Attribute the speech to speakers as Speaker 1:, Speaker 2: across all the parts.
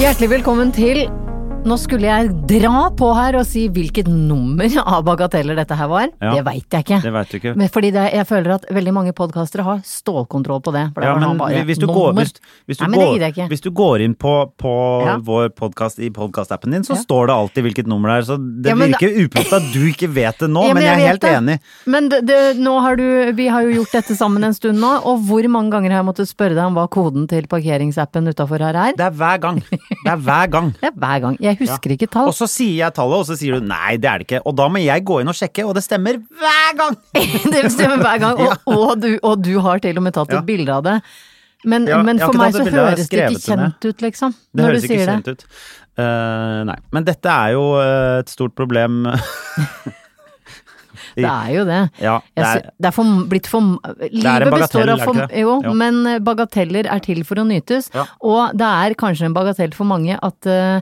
Speaker 1: Hjertelig velkommen til Nå skulle jeg dra på her og si hvilket nummer av bagateller dette her var.
Speaker 2: Ja.
Speaker 1: Det veit jeg ikke.
Speaker 2: Det veit du ikke.
Speaker 1: Men fordi det, jeg føler at veldig mange podkastere har stålkontroll på det. For det
Speaker 2: Ja,
Speaker 1: var sånn
Speaker 2: men
Speaker 1: bare,
Speaker 2: hvis du,
Speaker 1: nummer.
Speaker 2: går, hvis, hvis, du
Speaker 1: Nei, men det gidder jeg
Speaker 2: går,
Speaker 1: ikke.
Speaker 2: hvis du går inn på, på
Speaker 1: Ja.
Speaker 2: vår podkast i podkastappen din, så
Speaker 1: Ja.
Speaker 2: står det alltid hvilket nummer det er. Så det
Speaker 1: Ja, men da-
Speaker 2: virker uproft at du ikke vet det nå,
Speaker 1: Ja,
Speaker 2: men jeg er helt
Speaker 1: vet
Speaker 2: enig.
Speaker 1: det. Men det, det, nå har du, vi har jo gjort dette sammen en stund nå, og hvor mange ganger har jeg måttet spørre deg om hva koden til parkeringsappen utafor her er?
Speaker 2: Det er hver gang. Det er hver gang.
Speaker 1: Det er hver gang. Jeg husker ikke
Speaker 2: Og
Speaker 1: tall.
Speaker 2: så sier jeg tallet, og så sier du nei, det er det ikke. Og da må jeg gå inn og sjekke, og det stemmer hver gang!
Speaker 1: det stemmer hver gang. Og, og, du, og du har til og med tatt et
Speaker 2: Ja.
Speaker 1: bilde av det. Men,
Speaker 2: Ja,
Speaker 1: men
Speaker 2: jeg har
Speaker 1: for
Speaker 2: ikke
Speaker 1: meg så
Speaker 2: tatt et bilde, jeg har
Speaker 1: høres det ikke
Speaker 2: skrevet det ned.
Speaker 1: kjent ut, liksom.
Speaker 2: Det
Speaker 1: når
Speaker 2: høres
Speaker 1: du
Speaker 2: ikke
Speaker 1: sier det.
Speaker 2: kjent ut. Eh, nei. Men dette er jo eh, et stort problem.
Speaker 1: Det er jo det.
Speaker 2: Ja,
Speaker 1: Jeg
Speaker 2: det er-
Speaker 1: sy- det er for, blitt for Livet består
Speaker 2: bagatell,
Speaker 1: av
Speaker 2: er
Speaker 1: for
Speaker 2: det ikke det?
Speaker 1: Jo,
Speaker 2: Ja.
Speaker 1: men eh, bagateller er til for å nytes.
Speaker 2: Ja.
Speaker 1: Og det er kanskje en bagatell for mange at eh,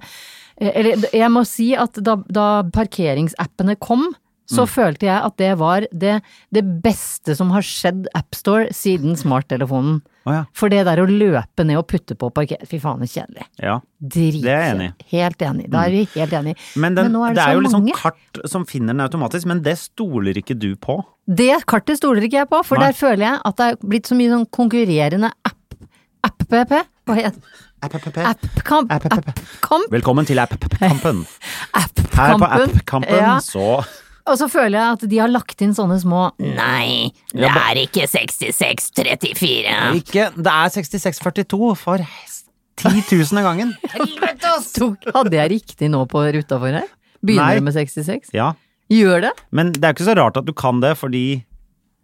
Speaker 1: Eller jeg må si at da, da parkeringsappene kom,
Speaker 2: Mm.
Speaker 1: så følte jeg at det var det, det beste som har skjedd AppStore siden smarttelefonen.
Speaker 2: Å ja.
Speaker 1: For det der å løpe ned og putte på parker... Fy faen, det er kjedelig.
Speaker 2: ja.
Speaker 1: Dritkjedelig.
Speaker 2: Det er jeg enig i. Mm.
Speaker 1: Helt enig. Da er vi helt enig.
Speaker 2: Men, den,
Speaker 1: nå er
Speaker 2: det, er
Speaker 1: det, så
Speaker 2: jo liksom
Speaker 1: mange.
Speaker 2: kart som finner den automatisk, men det stoler ikke du på.
Speaker 1: Det kartet stoler ikke jeg på, for
Speaker 2: Nei.
Speaker 1: der føler jeg at det er blitt så mye sånn konkurrerende app... app-pp? Hva heter det? App-kamp?
Speaker 2: App-app.
Speaker 1: App-kamp?
Speaker 2: Velkommen til app-kampen. Her på
Speaker 1: App-kampen?
Speaker 2: app-kampen
Speaker 1: Ja.
Speaker 2: så
Speaker 1: Og så føler jeg at de har lagt inn sånne små Nei, det er ikke 6634.
Speaker 2: Ikke Det er 6642 for titusende gangen.
Speaker 1: Tok- Hadde jeg riktig nå på ruta for her?
Speaker 2: Nei.
Speaker 1: Begynner det med 66?
Speaker 2: Ja.
Speaker 1: Gjør det?
Speaker 2: Men det er jo ikke så rart at du kan det, fordi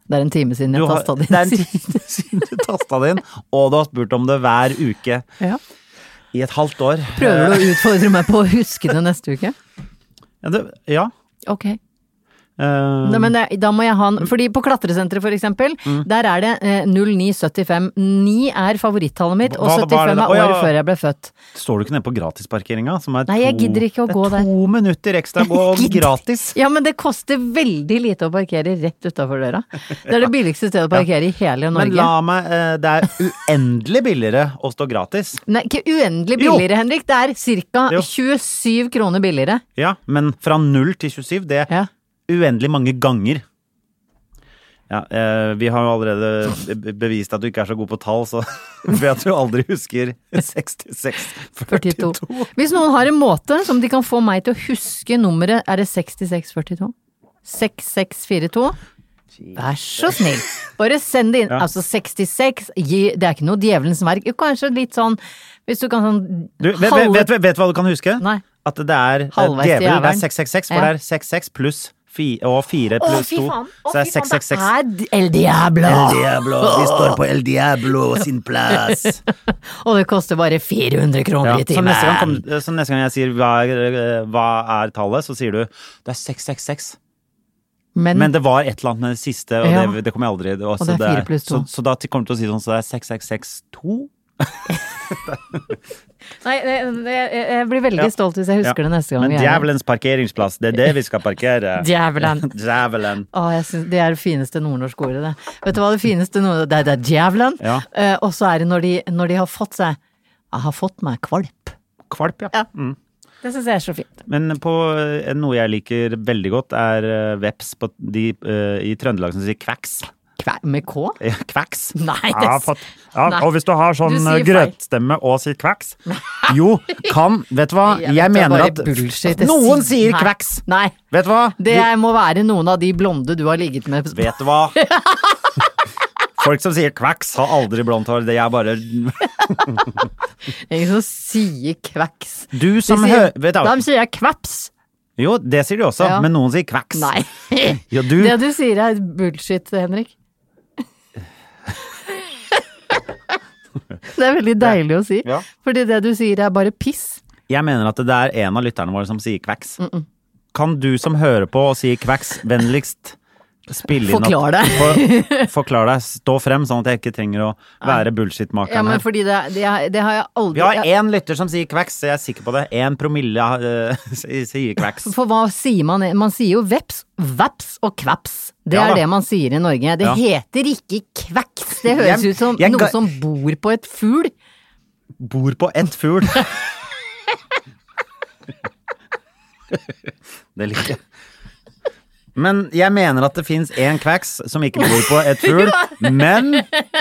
Speaker 1: Det er en time siden
Speaker 2: du
Speaker 1: jeg
Speaker 2: har,
Speaker 1: tasta
Speaker 2: det
Speaker 1: det
Speaker 2: er en
Speaker 1: inn.
Speaker 2: tid siden du tasta det inn, og du har spurt om det hver uke
Speaker 1: Ja.
Speaker 2: i et halvt år.
Speaker 1: Prøver du å utfordre meg på å huske det neste uke?
Speaker 2: Ja. Det, ja.
Speaker 1: Ok.
Speaker 2: Eh,
Speaker 1: Nei, men det, da må jeg ha
Speaker 2: Mm.
Speaker 1: en Fordi på klatresenteret for eksempel, der er det eh, 0975. 9 er favorittallet mitt, og
Speaker 2: Hva- hva er det
Speaker 1: 75
Speaker 2: da?
Speaker 1: er
Speaker 2: Å, ja.
Speaker 1: året før jeg ble født.
Speaker 2: står du ikke nede på gratisparkeringa? Som er
Speaker 1: Nei, jeg
Speaker 2: to,
Speaker 1: gidder ikke å
Speaker 2: det er
Speaker 1: gå der.
Speaker 2: To minutter ekstra gå og
Speaker 1: Gidder-
Speaker 2: gratis.
Speaker 1: Ja, men det koster veldig lite å parkere rett utafor døra. Det er det billigste stedet å parkere i hele
Speaker 2: Men
Speaker 1: Norge.
Speaker 2: la meg eh, Det er uendelig billigere å stå gratis.
Speaker 1: Nei, ikke uendelig
Speaker 2: Jo.
Speaker 1: billigere, Henrik. Det er ca.
Speaker 2: Jo.
Speaker 1: 27 kroner billigere.
Speaker 2: Ja, men fra 0 til 27, det er
Speaker 1: Ja.
Speaker 2: uendelig mange ganger. Ja, eh, vi har jo allerede be- bevist at du ikke er så god på tall, så for jeg tror aldri husker
Speaker 1: 42.
Speaker 2: 6642.
Speaker 1: Hvis noen har en måte som de kan få meg til å huske nummeret, er det 6642? 6642? Vær så snill, bare send det inn.
Speaker 2: Ja.
Speaker 1: Altså 66, gi, det er ikke noe djevelens verk. Jo, kanskje litt sånn, hvis du kan sånn
Speaker 2: Du, vet, vet, vet, vet du hva du kan huske?
Speaker 1: Nei.
Speaker 2: At det er eh,
Speaker 1: Halvveis til
Speaker 2: djevel,
Speaker 1: jævelen.
Speaker 2: det er 666, for
Speaker 1: Ja.
Speaker 2: det er 66 pluss 4, og 4
Speaker 1: Å,
Speaker 2: pluss
Speaker 1: fy
Speaker 2: 2,
Speaker 1: faen! Å,
Speaker 2: så det er
Speaker 1: fy faen, det
Speaker 2: 666.
Speaker 1: er d- El Diablo!
Speaker 2: Diablo, vi står på El Diablo sin plass.
Speaker 1: Og det koster bare 400 kroner
Speaker 2: Ja,
Speaker 1: i
Speaker 2: så,
Speaker 1: timen.
Speaker 2: neste gang, kom- så neste gang jeg sier hva er, eh, hva er tallet, så sier du det er 666.
Speaker 1: Men,
Speaker 2: Men det var et eller annet med det siste, og
Speaker 1: Ja.
Speaker 2: det, det kommer jeg aldri altså, det,
Speaker 1: Og det er fire pluss to.
Speaker 2: Så, så da kommer du til å si sånn, så det er 6662?
Speaker 1: nei, nei, jeg, jeg blir veldig
Speaker 2: Ja.
Speaker 1: stolt hvis jeg husker
Speaker 2: Ja.
Speaker 1: det neste gang.
Speaker 2: Men
Speaker 1: vi er her.
Speaker 2: djevelens parkeringsplass, det er det vi skal parkere.
Speaker 1: Djevelen.
Speaker 2: Djevelen.
Speaker 1: Å, jeg synes, det er det fineste nordnorske ordet, det. Vet du hva det fineste nord... Det er, det er djevelen.
Speaker 2: Ja.
Speaker 1: Eh, og så er det når de, når de har fått seg Jeg har fått meg kvalp.
Speaker 2: Kvalp, ja.
Speaker 1: Ja.
Speaker 2: Mm.
Speaker 1: Det syns jeg er så fint.
Speaker 2: Men på eh, noe jeg liker veldig godt, er eh, veps på de, eh, i Trøndelag som sier kveks.
Speaker 1: Kvæ med K?
Speaker 2: Ja, Eh, Kveks.
Speaker 1: Nei,
Speaker 2: Jeg har
Speaker 1: det-
Speaker 2: fått, ja,
Speaker 1: Nei.
Speaker 2: og hvis du har
Speaker 1: Du
Speaker 2: sånn
Speaker 1: sier
Speaker 2: eh,
Speaker 1: feil.
Speaker 2: grøtstemme og sier kveks Jo, kan Vet du hva?
Speaker 1: Jeg vet
Speaker 2: Jeg,
Speaker 1: det er
Speaker 2: mener
Speaker 1: bare
Speaker 2: at
Speaker 1: bullshit. Det
Speaker 2: noen
Speaker 1: sier-
Speaker 2: sier
Speaker 1: Nei.
Speaker 2: kveks.
Speaker 1: Nei.
Speaker 2: Vet du hva?
Speaker 1: Det er- må være noen av de blonde du har ligget med.
Speaker 2: Vi, vet du hva? Folk som sier kveks, har aldri blondt hår. Det er bare
Speaker 1: Ingen som liksom sier kveks.
Speaker 2: Du som
Speaker 1: De
Speaker 2: hører
Speaker 1: sier, de sier kvaps.
Speaker 2: Jo, det sier de også,
Speaker 1: Ja.
Speaker 2: men noen sier kvaks.
Speaker 1: Nei.
Speaker 2: Ja, du,
Speaker 1: Det du sier er bullshit, Henrik. Det er veldig deilig å si.
Speaker 2: Ja.
Speaker 1: Fordi det du sier er bare piss.
Speaker 2: jeg mener at det er en av lytterne våre som sier kvaks. Kan du som hører på og sier kvaks, vennligst spille inn at-
Speaker 1: Forklar deg.
Speaker 2: For, forklar deg, stå frem, sånn at jeg ikke trenger å være
Speaker 1: Ja,
Speaker 2: bullshit-makeren
Speaker 1: men
Speaker 2: her.
Speaker 1: fordi det, det, det har jeg
Speaker 2: Vi
Speaker 1: aldri
Speaker 2: har én lytter som sier kvaks, så jeg er sikker på det. Én promille eh, sier kvaks.
Speaker 1: For hva sier man? Man sier jo veps, vaps og kvaps. Det
Speaker 2: Ja da.
Speaker 1: er det man sier i Norge. Det
Speaker 2: Ja.
Speaker 1: heter ikke kveks. Det høres
Speaker 2: Jeg-
Speaker 1: ut som
Speaker 2: jeg ga-
Speaker 1: noe som bor på et fugl.
Speaker 2: Bor på ett fugl. det liker jeg. Men jeg mener at det fins én kvaks som ikke bor på et fugl. Men,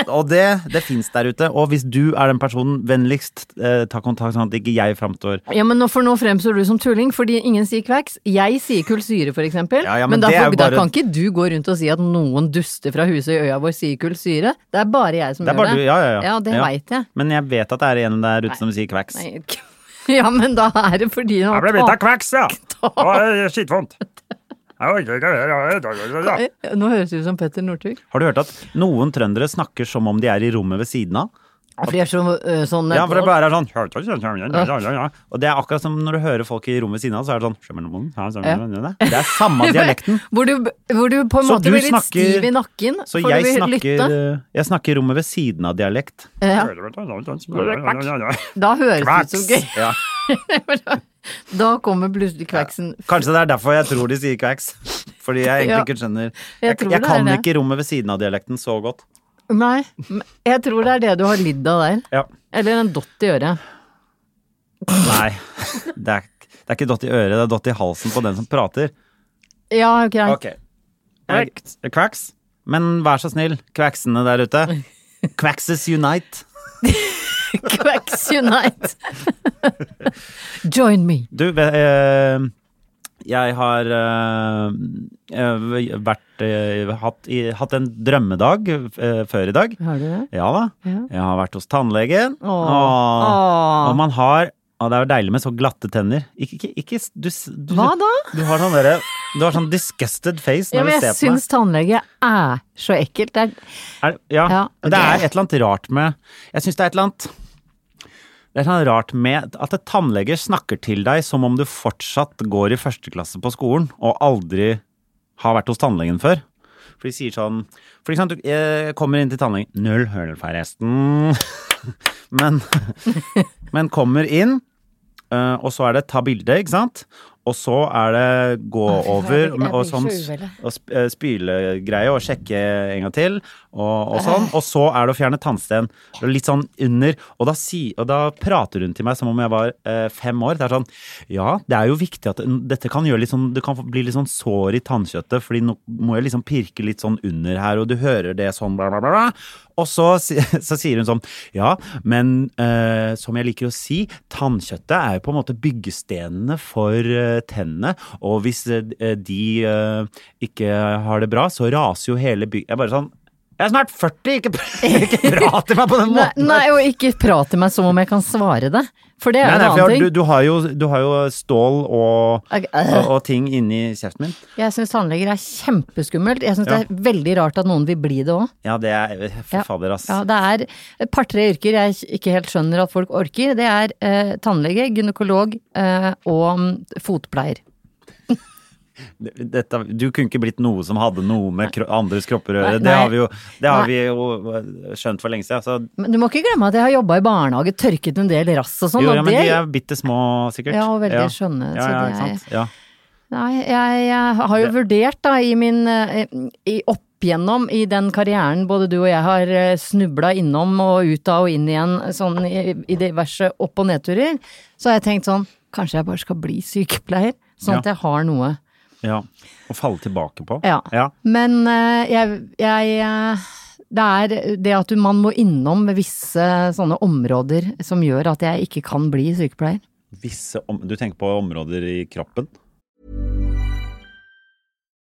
Speaker 2: og det, det fins der ute. Og hvis du er den personen, vennligst eh, ta kontakt, sånn at ikke jeg framstår
Speaker 1: Ja, men nå, For nå fremstår du som tulling, fordi ingen sier kveks. Jeg sier kullsyre, for eksempel.
Speaker 2: Ja, ja, men
Speaker 1: men
Speaker 2: det er jo
Speaker 1: derfor, da
Speaker 2: bare-
Speaker 1: kan ikke du gå rundt og si at noen duster fra huset i øya vår sier kullsyre. Det er bare jeg som
Speaker 2: Det er
Speaker 1: gjør
Speaker 2: bare
Speaker 1: det.
Speaker 2: du. Ja, ja, ja.
Speaker 1: Ja, det
Speaker 2: Ja.
Speaker 1: veit jeg.
Speaker 2: Men jeg vet at det er en der ute som sier kvaks.
Speaker 1: Nei, k- Ja, men da er det fordi han
Speaker 2: kvaks, ja! Skittvondt.
Speaker 1: Nå høres det ut som Petter Northug.
Speaker 2: Har du hørt at noen trøndere snakker som om de er i rommet ved siden av?
Speaker 1: For de er så, øh, sånn
Speaker 2: Ja, for det bare er sånn Og det er akkurat som når du hører folk i rommet ved siden av, så er det sånn Det er samme dialekten.
Speaker 1: Hvor du, hvor du på en
Speaker 2: Så
Speaker 1: måte
Speaker 2: du
Speaker 1: blir litt
Speaker 2: snakker-
Speaker 1: stiv i nakken,
Speaker 2: Så
Speaker 1: for du
Speaker 2: jeg
Speaker 1: vil
Speaker 2: snakker,
Speaker 1: lytte.
Speaker 2: jeg snakker rommet ved siden av dialekt.
Speaker 1: Ja, da høres det ut som gøy.
Speaker 2: Ja.
Speaker 1: Da kommer plutselig kveksen.
Speaker 2: Kanskje det er derfor jeg tror de sier kveks. Fordi jeg egentlig
Speaker 1: Ja.
Speaker 2: ikke skjønner Jeg,
Speaker 1: Jeg tror
Speaker 2: jeg
Speaker 1: det er
Speaker 2: kan
Speaker 1: det.
Speaker 2: ikke rommet ved siden av dialekten så godt.
Speaker 1: Nei, men jeg tror det er det du har lidd av der.
Speaker 2: Ja.
Speaker 1: Eller en dott i øret.
Speaker 2: Nei. Det er, det er ikke dott i øret, det er dott i halsen på den som prater.
Speaker 1: Ja, greit.
Speaker 2: Ok. Kvaks. Kvaks. Men vær så snill, kvaksene der ute. Quaxes unite.
Speaker 1: Quacks Unite. Join me.
Speaker 2: Du, ve- eh, jeg har eh, eh, vært eh, hatt, i, hatt en drømmedag eh, før i dag.
Speaker 1: Har du det?
Speaker 2: Ja da.
Speaker 1: Ja.
Speaker 2: Jeg har vært hos tannlegen.
Speaker 1: Åh.
Speaker 2: Og
Speaker 1: Åh.
Speaker 2: man har og Det er jo deilig med så glatte tenner. Ikke, ikke, ikke s- du, s- du,
Speaker 1: Hva da?
Speaker 2: Du har sånn derre Du har sånn disgusted face
Speaker 1: Ja,
Speaker 2: når
Speaker 1: men jeg
Speaker 2: du ser på meg.
Speaker 1: syns tannlege er så ekkelt. Det er
Speaker 2: Er, ja,
Speaker 1: Ja,
Speaker 2: men Det er et eller annet rart med Jeg syns det er et eller annet Det er et eller annet rart med at en tannlege snakker til deg som om du fortsatt går i første klasse på skolen og aldri har vært hos tannlegen før. For de sier sånn For eksempel, du eh, kommer inn til tannlegen Null høl, forresten. Men, men kommer inn, eh, og så er det ta bilde, ikke sant? Og så er det gå
Speaker 1: Å, fy faen, jeg
Speaker 2: over
Speaker 1: blir-
Speaker 2: med- og
Speaker 1: jeg
Speaker 2: sånn
Speaker 1: blir så uvel,
Speaker 2: og sp- eh, spylegreie og sjekke en gang til, og, og
Speaker 1: Eh.
Speaker 2: sånn. Og så er det å fjerne tannsten. og Litt sånn under. Og da, si, og da prater hun til meg som om jeg var eh, fem år. Det er sånn Ja, det er jo viktig at dette kan gjøre litt sånn Det kan få- bli litt sånn sår i tannkjøttet, fordi nå må jeg liksom pirke litt sånn under her, og du hører det sånn bla, bla, bla. bla. Og så, si- så sier hun sånn Ja, men eh, som jeg liker å si, tannkjøttet er jo på en måte byggestenene for eh, tennene. Og hvis eh, de eh, ikke har det bra, så raser jo hele bygget Jeg er bare sånn Jeg er snart 40, ikke, pr- ikke prat til meg på den
Speaker 1: nei,
Speaker 2: måten!
Speaker 1: nei, og ikke prat til meg som om jeg kan svare det. For det er
Speaker 2: Nei,
Speaker 1: en
Speaker 2: nei, for
Speaker 1: annen
Speaker 2: jeg, har-
Speaker 1: ting.
Speaker 2: du, du, har jo, du har jo stål og,
Speaker 1: Ok, øh,
Speaker 2: og, og ting inni kjeften min.
Speaker 1: Jeg syns tannleger er kjempeskummelt. Jeg syns det er veldig rart at noen vil bli det òg.
Speaker 2: Ja, det er For
Speaker 1: Ja.
Speaker 2: fader, ass.
Speaker 1: Ja, det er et par-tre yrker jeg ikke helt skjønner at folk orker. Det er eh, tannlege, gynekolog eh, og mm, fotpleier.
Speaker 2: Dette, du kunne ikke blitt noe som hadde noe med kro andres kropper å gjøre.
Speaker 1: Nei,
Speaker 2: Det har, vi jo, det har
Speaker 1: Nei.
Speaker 2: vi jo eh, skjønt for lenge siden. Så,
Speaker 1: Men du må ikke glemme at jeg har jobba i barnehage, tørket en del rass og sånn.
Speaker 2: jo,
Speaker 1: og
Speaker 2: ja, men de
Speaker 1: det-
Speaker 2: er bitte små, sikkert.
Speaker 1: Ja, og veldig skjønne,
Speaker 2: Ja,
Speaker 1: så
Speaker 2: ja,
Speaker 1: det
Speaker 2: ikke
Speaker 1: er-
Speaker 2: sant? Ja.
Speaker 1: Nei, jeg, jeg har jo vurdert da i min eh, i opp gjennom i den karrieren både du og jeg har eh, snubla innom og ut av og inn igjen sånn i, i diverse opp- og nedturer, så har jeg tenkt sånn Kanskje jeg bare skal bli sykepleier, sånn at
Speaker 2: Ja.
Speaker 1: jeg har noe.
Speaker 2: ja. Å falle tilbake på.
Speaker 1: Ja. Men eh, jeg, jeg eh, Det er det at du, man må innom visse sånne områder som gjør at jeg ikke kan bli sykepleier.
Speaker 2: Visse om, du tenker på områder i kroppen?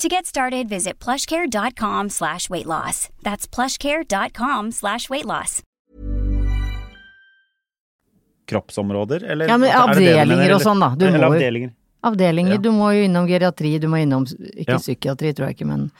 Speaker 3: To get started, visit plushcare.com slash weight loss. That's plushcare.com slash weight loss.
Speaker 2: Kroppsområder, eller?
Speaker 1: Ja, men
Speaker 2: er det det du mener,
Speaker 1: avdelinger og
Speaker 2: eller-
Speaker 1: sånn, da. Du
Speaker 2: eller
Speaker 1: må jo-
Speaker 2: avdelinger.
Speaker 1: Avdelinger,
Speaker 2: Ja.
Speaker 1: du må jo innom geriatri, du må innom Ikke
Speaker 2: Ja.
Speaker 1: psykiatri, tror jeg ikke, men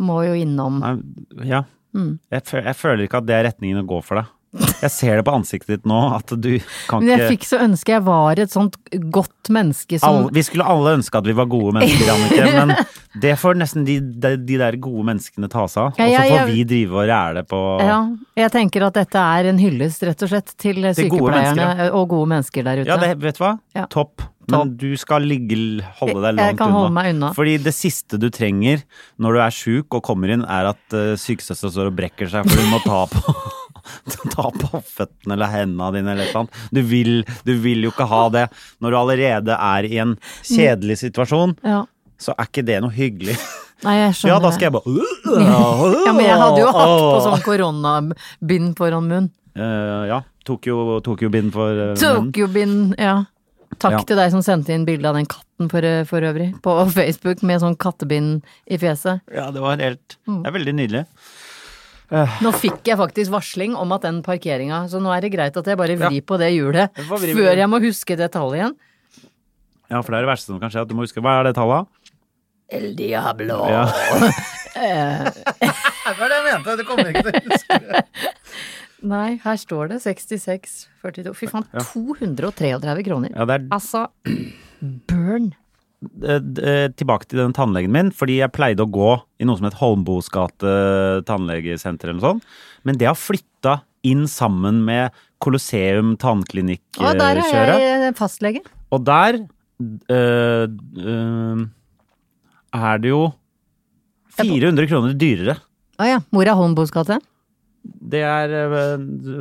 Speaker 1: må jo innom
Speaker 2: Nei, ja.
Speaker 1: Mm.
Speaker 2: Jeg, fø- jeg føler ikke at det er retningen å gå for deg. Jeg ser det på ansiktet ditt nå, at du kan
Speaker 1: Men jeg
Speaker 2: ikke
Speaker 1: fikk så ønske jeg var et sånt godt menneske som
Speaker 2: alle, Vi skulle alle ønske at vi var gode mennesker, Annike, men det får nesten de, de, de der gode menneskene ta seg av. Og
Speaker 1: Ja,
Speaker 2: så
Speaker 1: jeg-
Speaker 2: får
Speaker 1: jeg-
Speaker 2: vi drive og ræle på
Speaker 1: Ja, jeg tenker at dette er en hyllest, rett og slett, til
Speaker 2: Til gode
Speaker 1: sykepleierne
Speaker 2: mennesker,
Speaker 1: og gode mennesker der ute.
Speaker 2: Ja, det, vet du hva?
Speaker 1: Ja.
Speaker 2: Topp. Men du skal ligge, holde deg
Speaker 1: Jeg- jeg
Speaker 2: langt
Speaker 1: kan holde meg unna.
Speaker 2: Fordi det siste du trenger når du er sjuk og kommer inn, er at uh, sykesøster står og brekker seg for hun må ta på Ta på føttene eller hendene dine eller et eller annet. Du vil, du vil jo ikke ha det. Når du allerede er i en kjedelig situasjon,
Speaker 1: Ja.
Speaker 2: så er ikke det noe hyggelig.
Speaker 1: Nei, jeg skjønner.
Speaker 2: Ja, da skal jeg bare
Speaker 1: Ja, men jeg hadde jo hatt på sånn koronabind foran munn.
Speaker 2: Eh, Ja. Tok jo, tok jo bind for eh, munnen.
Speaker 1: Tokyo-bind, ja. Takk
Speaker 2: Ja.
Speaker 1: til deg som sendte inn bilde av den katten for, for øvrig, på Facebook, med sånn kattebind i fjeset.
Speaker 2: Ja, det var helt
Speaker 1: Mm.
Speaker 2: Det er veldig nydelig.
Speaker 1: Nå fikk jeg faktisk varsling om at den parkeringa, så nå er det greit at jeg bare vrir på det hjulet
Speaker 2: får vri på det.
Speaker 1: før jeg må huske det tallet igjen.
Speaker 2: Ja, for det er det verste som kan skje. At du må huske, hva er det tallet?
Speaker 1: El Diablo.
Speaker 2: Ja. Hva er det jeg mente? Du kommer ikke til å huske det.
Speaker 1: Nei, her står det 66,42. Fy faen, 233 kroner.
Speaker 2: Ja, det er
Speaker 1: Altså, burn.
Speaker 2: eh, d- eh, tilbake til den tannlegen min, fordi jeg pleide å gå i noe som het Holmboes gate tannlegesenter eller noe sånt, men det har flytta inn sammen med Colosseum
Speaker 1: Å, der er
Speaker 2: tannklinikk-kjøret.
Speaker 1: jeg eh, fastlege.
Speaker 2: Og der eh, eh, er det jo 400 kroner dyrere.
Speaker 1: Å ja. Mora Holmboes gate.
Speaker 2: Det er, eh,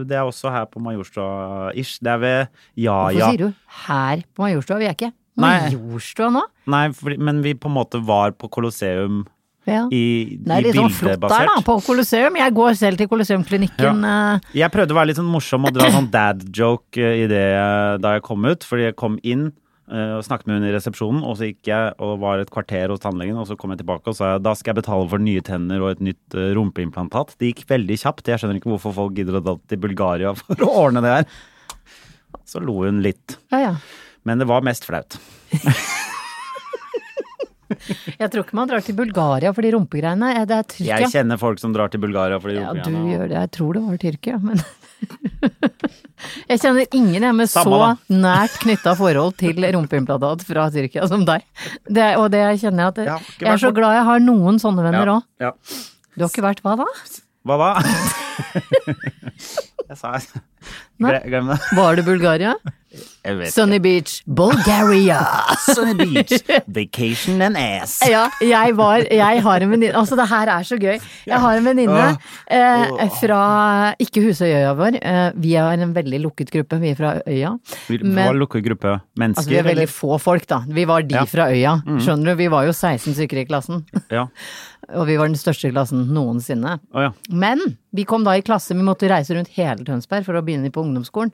Speaker 2: det er også her på Majorstua-ish. Det er ved
Speaker 1: Hvorfor
Speaker 2: Ja-Ja.
Speaker 1: sier du her på Majorstua? Vi er ikke
Speaker 2: Ah, Nei.
Speaker 1: Majorstua nå?
Speaker 2: Nei, fordi, men vi på en måte var på Colosseum
Speaker 1: Ja.
Speaker 2: i,
Speaker 1: Det er
Speaker 2: i
Speaker 1: litt sånn flott der, da,
Speaker 2: bildebasert.
Speaker 1: på Colosseum. Jeg går selv til Colosseumklinikken. eh,
Speaker 2: Jeg prøvde å være litt sånn morsom og dra sånn dad-joke eh, i det eh, da jeg kom ut, fordi jeg kom inn eh, og snakket med hun i resepsjonen, og så gikk jeg og var et kvarter hos tannlegen, og så kom jeg tilbake og sa da skal jeg betale for nye tenner og et nytt eh, rumpeimplantat. Det gikk veldig kjapt, jeg skjønner ikke hvorfor folk gidder å dra til Bulgaria for å ordne det her. Så lo hun litt,
Speaker 1: Ja, ja.
Speaker 2: men det var mest flaut.
Speaker 1: Jeg tror ikke man drar til Bulgaria for de rumpegreiene. Eh, Det er Tyrkia.
Speaker 2: Jeg kjenner folk som drar til Bulgaria for de
Speaker 1: ja, du
Speaker 2: rumpegreiene.
Speaker 1: gjør det. Jeg tror det var Tyrkia, men Jeg kjenner ingen jeg med
Speaker 2: Samme
Speaker 1: så
Speaker 2: da.
Speaker 1: nært knytta forhold til rumpeimplantat fra Tyrkia som deg. Det, og det kjenner jeg at
Speaker 2: Ja,
Speaker 1: jeg, jeg
Speaker 2: ikke
Speaker 1: er
Speaker 2: vært
Speaker 1: så
Speaker 2: bort-
Speaker 1: glad jeg har noen sånne venner òg.
Speaker 2: Ja.
Speaker 1: Du har ikke vært hva da?
Speaker 2: Hva da? jeg sa
Speaker 1: Nei.
Speaker 2: Gle- Glem det.
Speaker 1: Var det Bulgaria?
Speaker 2: Jeg vet
Speaker 1: Sunny Beach, Bulgaria!
Speaker 2: Sunny beach, vacation and ass.
Speaker 1: Ja, jeg var Jeg har en venninne Altså, det her er så gøy. Jeg har en venninne eh, fra Ikke Husøyøya vår. Eh, vi er en veldig lukket gruppe, vi er fra øya.
Speaker 2: Vi
Speaker 1: Men-
Speaker 2: var lukket gruppe mennesker.
Speaker 1: Altså, vi er veldig
Speaker 2: eller?
Speaker 1: få folk, da. Vi var de
Speaker 2: Ja. Mm.
Speaker 1: fra øya. Skjønner du? Vi var jo 16 stykker i klassen.
Speaker 2: Ja.
Speaker 1: Og vi var den største klassen noensinne.
Speaker 2: Å ja.
Speaker 1: Men vi kom da i klasse, vi måtte reise rundt hele Tønsberg for å begynne på ungdomsskolen.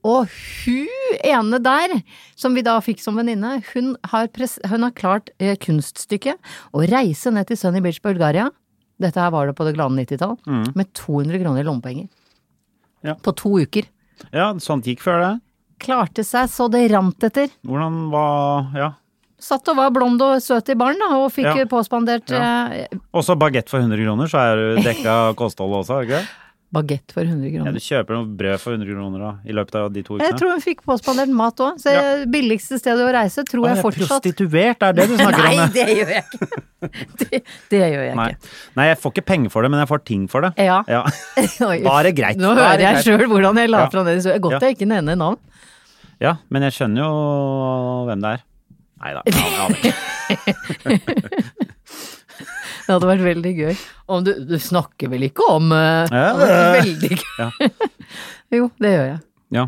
Speaker 1: Og hun ene der, som vi da fikk som venninne, hun, har pres- hun har klart eh, kunststykket å reise ned til Sunny Beach Bulgaria, dette her var det på det glade 90-tall, med 200 kroner i lommepenger.
Speaker 2: Mm. Ja.
Speaker 1: På to uker.
Speaker 2: ja, sånt gikk før det.
Speaker 1: Klarte seg så det rant etter.
Speaker 2: Hvordan var Ja.
Speaker 1: Satt og var blond og søt i baren, da, og fikk
Speaker 2: Ja.
Speaker 1: påspandert
Speaker 2: Ja.
Speaker 1: eh,
Speaker 2: Også bagett for 100 kroner, så er du dekka kostholdet også, er det ikke det?
Speaker 1: Bagett for 100
Speaker 2: Ja,
Speaker 1: kroner.
Speaker 2: du kjøper noe brød for 100 kroner da, i løpet av de to ukene.
Speaker 1: Jeg tror hun fikk påspandert mat òg, så billigste stedet å reise tror
Speaker 2: Å,
Speaker 1: jeg
Speaker 2: jeg er
Speaker 1: fortsatt
Speaker 2: prostituert, er det du snakker om?
Speaker 1: Nei,
Speaker 2: ja?
Speaker 1: det gjør jeg ikke. Det, det gjør jeg
Speaker 2: Nei.
Speaker 1: ikke.
Speaker 2: Nei, jeg får ikke penger for det, men jeg får ting for det.
Speaker 1: Ja.
Speaker 2: Ja.
Speaker 1: Oi,
Speaker 2: Bare greit.
Speaker 1: Nå
Speaker 2: Bare
Speaker 1: hører jeg
Speaker 2: greit.
Speaker 1: sjøl hvordan jeg la
Speaker 2: Ja.
Speaker 1: fram det. Så godt
Speaker 2: Ja.
Speaker 1: jeg ikke nevner navn.
Speaker 2: Ja, men jeg skjønner jo hvem det er. Nei da. Jeg aner ikke.
Speaker 1: Det hadde vært veldig gøy. Om du, du snakker vel ikke om eh,
Speaker 2: Ja.
Speaker 1: om det er Veldig gøy. jo, det gjør jeg.
Speaker 2: Ja.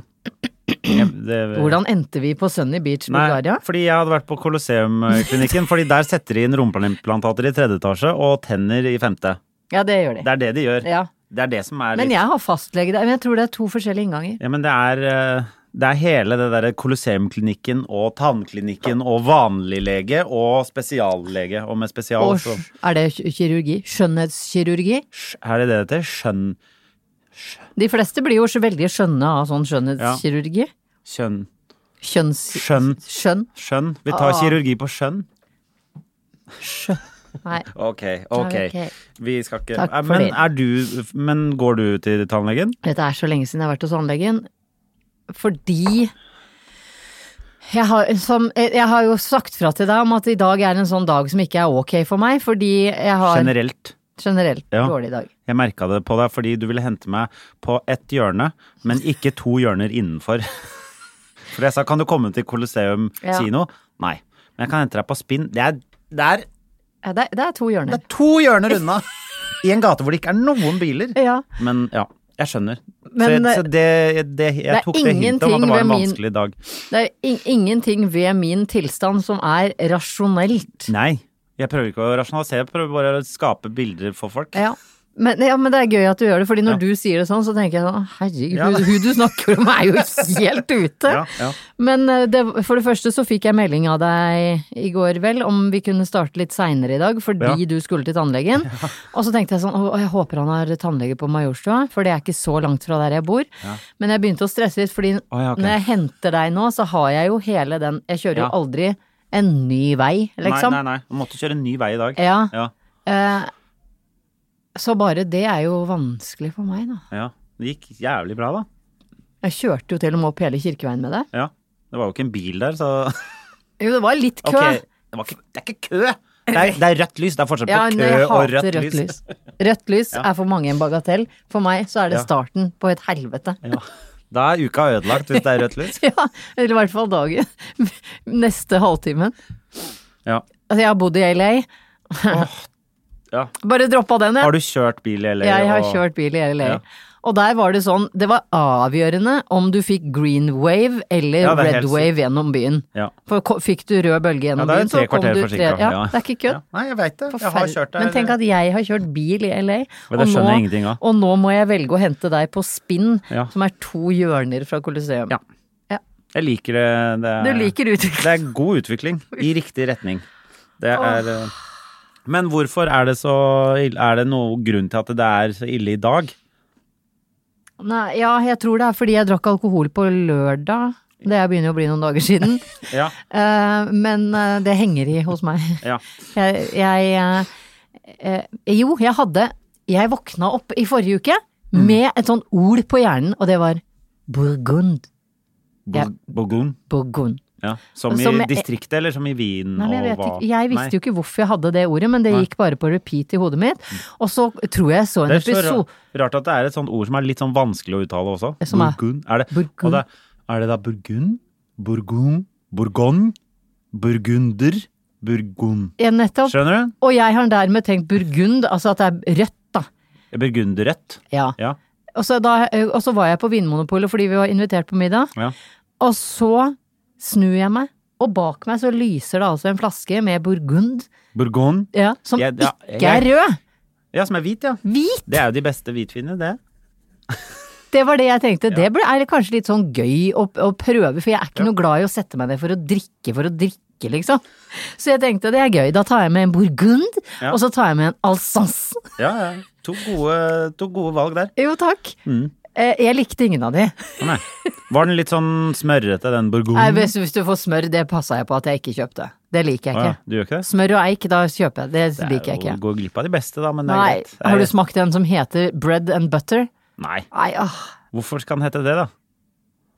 Speaker 2: Jeg- det-
Speaker 1: Hvordan endte vi på Sunny Beach, Bulgaria?
Speaker 2: fordi jeg hadde vært på Colosseum-klinikken. fordi der setter de inn rumpeimplantater i tredje etasje og tenner i femte.
Speaker 1: Ja, det gjør de.
Speaker 2: Det er det de gjør.
Speaker 1: Ja.
Speaker 2: Det er det som er litt
Speaker 1: Men jeg har fastlege der. Men jeg tror det er to forskjellige innganger.
Speaker 2: Ja, men det er, eh, det er hele det derre Colosseum-klinikken og tannklinikken og vanliglege og spesiallege. Og med spesial
Speaker 1: Og
Speaker 2: så
Speaker 1: er det ki- kirurgi? Skjønnhetskirurgi?
Speaker 2: Sj- Er det det det heter? Skjønn...
Speaker 1: De fleste blir jo så veldig skjønne av sånn skjønnhetskirurgi.
Speaker 2: Kjønn...
Speaker 1: Kjønns...
Speaker 2: Skjønn.
Speaker 1: Skjønn.
Speaker 2: Skjønn. Vi tar
Speaker 1: Ah.
Speaker 2: kirurgi på skjønn.
Speaker 1: Nei.
Speaker 2: Ok,
Speaker 1: ok.
Speaker 2: ok. Vi skal ikke
Speaker 1: Takk
Speaker 2: Eh,
Speaker 1: for
Speaker 2: Men
Speaker 1: det.
Speaker 2: er du Men går du til tannlegen?
Speaker 1: Dette er så lenge siden jeg har vært hos tannlegen. Fordi jeg har, som, jeg har jo sagt fra til deg om at i dag er en sånn dag som ikke er ok for meg, fordi jeg har generelt,
Speaker 2: Generelt. Ja.
Speaker 1: dårlig dag.
Speaker 2: Jeg merka det på deg fordi du ville hente meg på ett hjørne, men ikke to hjørner innenfor. For jeg sa 'kan du komme til Colosseum
Speaker 1: Ja.
Speaker 2: kino'? Nei. Men jeg kan hente deg på spinn. Det er, det er,
Speaker 1: Ja, det, er- det er to
Speaker 2: det
Speaker 1: hjørner.
Speaker 2: er to hjørner unna! I en gate hvor det ikke er noen biler.
Speaker 1: Ja.
Speaker 2: Men ja, jeg skjønner.
Speaker 1: Men, eh,
Speaker 2: så jeg, så det, det, jeg
Speaker 1: det er
Speaker 2: tok det hintet om at
Speaker 1: ingenting
Speaker 2: det var
Speaker 1: ved
Speaker 2: en
Speaker 1: min-
Speaker 2: vanskelig dag.
Speaker 1: Det er in ingenting ved min tilstand som er rasjonelt.
Speaker 2: Nei. Jeg prøver ikke å rasjonalisere, jeg prøver bare å skape bilder for folk.
Speaker 1: Ja. Men, ja, men det er gøy at du gjør det, fordi når du sier det sånn, så tenker jeg sånn herregud,
Speaker 2: Ja.
Speaker 1: hun du snakker om er jo helt ute.
Speaker 2: Ja, ja.
Speaker 1: Men eh, det, for det første så fikk jeg melding av deg i går vel om vi kunne starte litt seinere i dag fordi
Speaker 2: Ja.
Speaker 1: du skulle til tannlegen. Og så tenkte jeg sånn, å, jeg håper han har tannlege på Majorstua, for det er ikke så langt fra der jeg bor. Men jeg begynte å stresse litt, fordi
Speaker 2: Å, ja, ok.
Speaker 1: når jeg henter deg nå, så har jeg jo hele den Jeg kjører
Speaker 2: Ja.
Speaker 1: jo aldri en ny vei, liksom.
Speaker 2: Nei, nei, nei. Jeg måtte kjøre en ny vei i dag.
Speaker 1: Ja.
Speaker 2: Ja.
Speaker 1: Eh, så bare det er jo vanskelig for meg, da.
Speaker 2: ja. Det gikk jævlig bra, da.
Speaker 1: Jeg kjørte jo til og med opp hele Kirkeveien med deg.
Speaker 2: Ja. Det var jo ikke en bil der, så
Speaker 1: Jo, det var litt kø.
Speaker 2: Ok, det, var ikke, det er ikke kø! Det er, det er rødt lys. Det er forskjell på
Speaker 1: Ja, nei,
Speaker 2: kø
Speaker 1: jeg
Speaker 2: og
Speaker 1: hater
Speaker 2: rødt, lys.
Speaker 1: Rødt lys er for mange en bagatell. For meg så er det
Speaker 2: Ja.
Speaker 1: starten på et helvete.
Speaker 2: Ja. Da er uka ødelagt hvis det er rødt lys.
Speaker 1: Ja, eller i hvert fall dagen. Neste halvtimen.
Speaker 2: Ja.
Speaker 1: Altså, jeg har bodd i LA.
Speaker 2: Ja.
Speaker 1: Bare droppa den, jeg.
Speaker 2: Har du kjørt bil i LA?
Speaker 1: Jeg har
Speaker 2: og-
Speaker 1: kjørt bil i LA.
Speaker 2: Ja.
Speaker 1: Og der var det sånn, det var avgjørende om du fikk green wave eller
Speaker 2: Ja, det er
Speaker 1: red
Speaker 2: helt sykt.
Speaker 1: wave gjennom byen.
Speaker 2: Ja.
Speaker 1: For ko- fikk du rød bølge
Speaker 2: ja,
Speaker 1: gjennom
Speaker 2: det er
Speaker 1: byen,
Speaker 2: jo tre kvarter forsinka.
Speaker 1: Ja, det er ikke kødd.
Speaker 2: Ja. Nei, jeg veit det. Jeg har
Speaker 1: Forferd-
Speaker 2: kjørt der.
Speaker 1: Men tenk at jeg har kjørt bil i LA,
Speaker 2: Men det skjønner jeg ingenting av.
Speaker 1: og nå må jeg velge å hente deg på spinn,
Speaker 2: Ja.
Speaker 1: som er to hjørner fra Colosseum.
Speaker 2: Ja. Jeg liker det. det
Speaker 1: Du
Speaker 2: er,
Speaker 1: liker utvikling.
Speaker 2: Det er god utvikling. I riktig retning. Det er eh, Men hvorfor er det så ille? Er det noen grunn til at det er så ille i dag?
Speaker 1: Nei, ja, jeg tror det er fordi jeg drakk alkohol på lørdag. Det er begynner jo å bli noen dager siden.
Speaker 2: Ja.
Speaker 1: Eh, men eh, det henger i hos meg.
Speaker 2: ja.
Speaker 1: Jeg, jeg eh, eh, Jo, jeg hadde Jeg våkna opp i forrige uke
Speaker 2: Mm.
Speaker 1: med et sånt ord på hjernen, og det var Burgund. Ja.
Speaker 2: Bogun.
Speaker 1: Burgund.
Speaker 2: Ja. Som i
Speaker 1: Som jeg-
Speaker 2: distriktet, eller som i Wien?
Speaker 1: Nei, men jeg,
Speaker 2: og
Speaker 1: vet
Speaker 2: hva?
Speaker 1: ikke, jeg visste
Speaker 2: Nei.
Speaker 1: jo ikke hvorfor jeg hadde det ordet, men det
Speaker 2: Nei. Mm.
Speaker 1: gikk bare på repeat i hodet mitt. Og så tror jeg jeg så en
Speaker 2: Det er så
Speaker 1: episode
Speaker 2: rart, rart at det er et sånt ord som er litt sånn vanskelig å uttale også.
Speaker 1: Som er-
Speaker 2: Burgund. Er det,
Speaker 1: Burgund.
Speaker 2: Og det, er det da burgund? Burgund? Burgund? Burgunder? Burgund.
Speaker 1: Ja, nettopp.
Speaker 2: Skjønner du?
Speaker 1: Og jeg har dermed tenkt burgund, altså at det er rødt, da.
Speaker 2: Burgunderrødt.
Speaker 1: Ja.
Speaker 2: Ja.
Speaker 1: Og, så da, og så var jeg på Vinmonopolet fordi vi var invitert på middag,
Speaker 2: ja.
Speaker 1: og så snur jeg meg, og bak meg så lyser det altså en flaske med burgund,
Speaker 2: Burgund.
Speaker 1: ja, som
Speaker 2: Jeg- ja,
Speaker 1: ikke er
Speaker 2: jeg-
Speaker 1: rød.
Speaker 2: Ja, som er hvit, ja.
Speaker 1: Hvit!
Speaker 2: Det er jo de beste hvitvinene, det.
Speaker 1: Det var det jeg tenkte. Det ble, er kanskje litt sånn gøy å, å prøve, for jeg er ikke noe glad i å sette meg ned for å drikke for å drikke, liksom. Så jeg tenkte det er gøy. Da tar jeg med en burgund,
Speaker 2: Ja.
Speaker 1: og så tar jeg med en alsace.
Speaker 2: Ja, ja. To gode, to gode valg der.
Speaker 1: Jo, takk.
Speaker 2: Mm.
Speaker 1: Eh, Jeg likte ingen av de.
Speaker 2: Å, nei. Var den litt sånn smørrete, den
Speaker 1: Nei,
Speaker 2: burgunden?
Speaker 1: Eh, hvis, hvis du får smør, det passa jeg på at jeg ikke kjøpte. Det liker jeg
Speaker 2: Å, ja.
Speaker 1: ikke.
Speaker 2: Du gjør ikke det?
Speaker 1: Smør og eik, da kjøper jeg. Det, liker jeg
Speaker 2: Det er jo-
Speaker 1: ikke.
Speaker 2: Går glipp av de beste, da, men det er
Speaker 1: Nei.
Speaker 2: greit. Det er
Speaker 1: Har du
Speaker 2: greit.
Speaker 1: smakt den som heter bread and butter?
Speaker 2: Nei.
Speaker 1: Nei, åh.
Speaker 2: Hvorfor skal den hete det, da?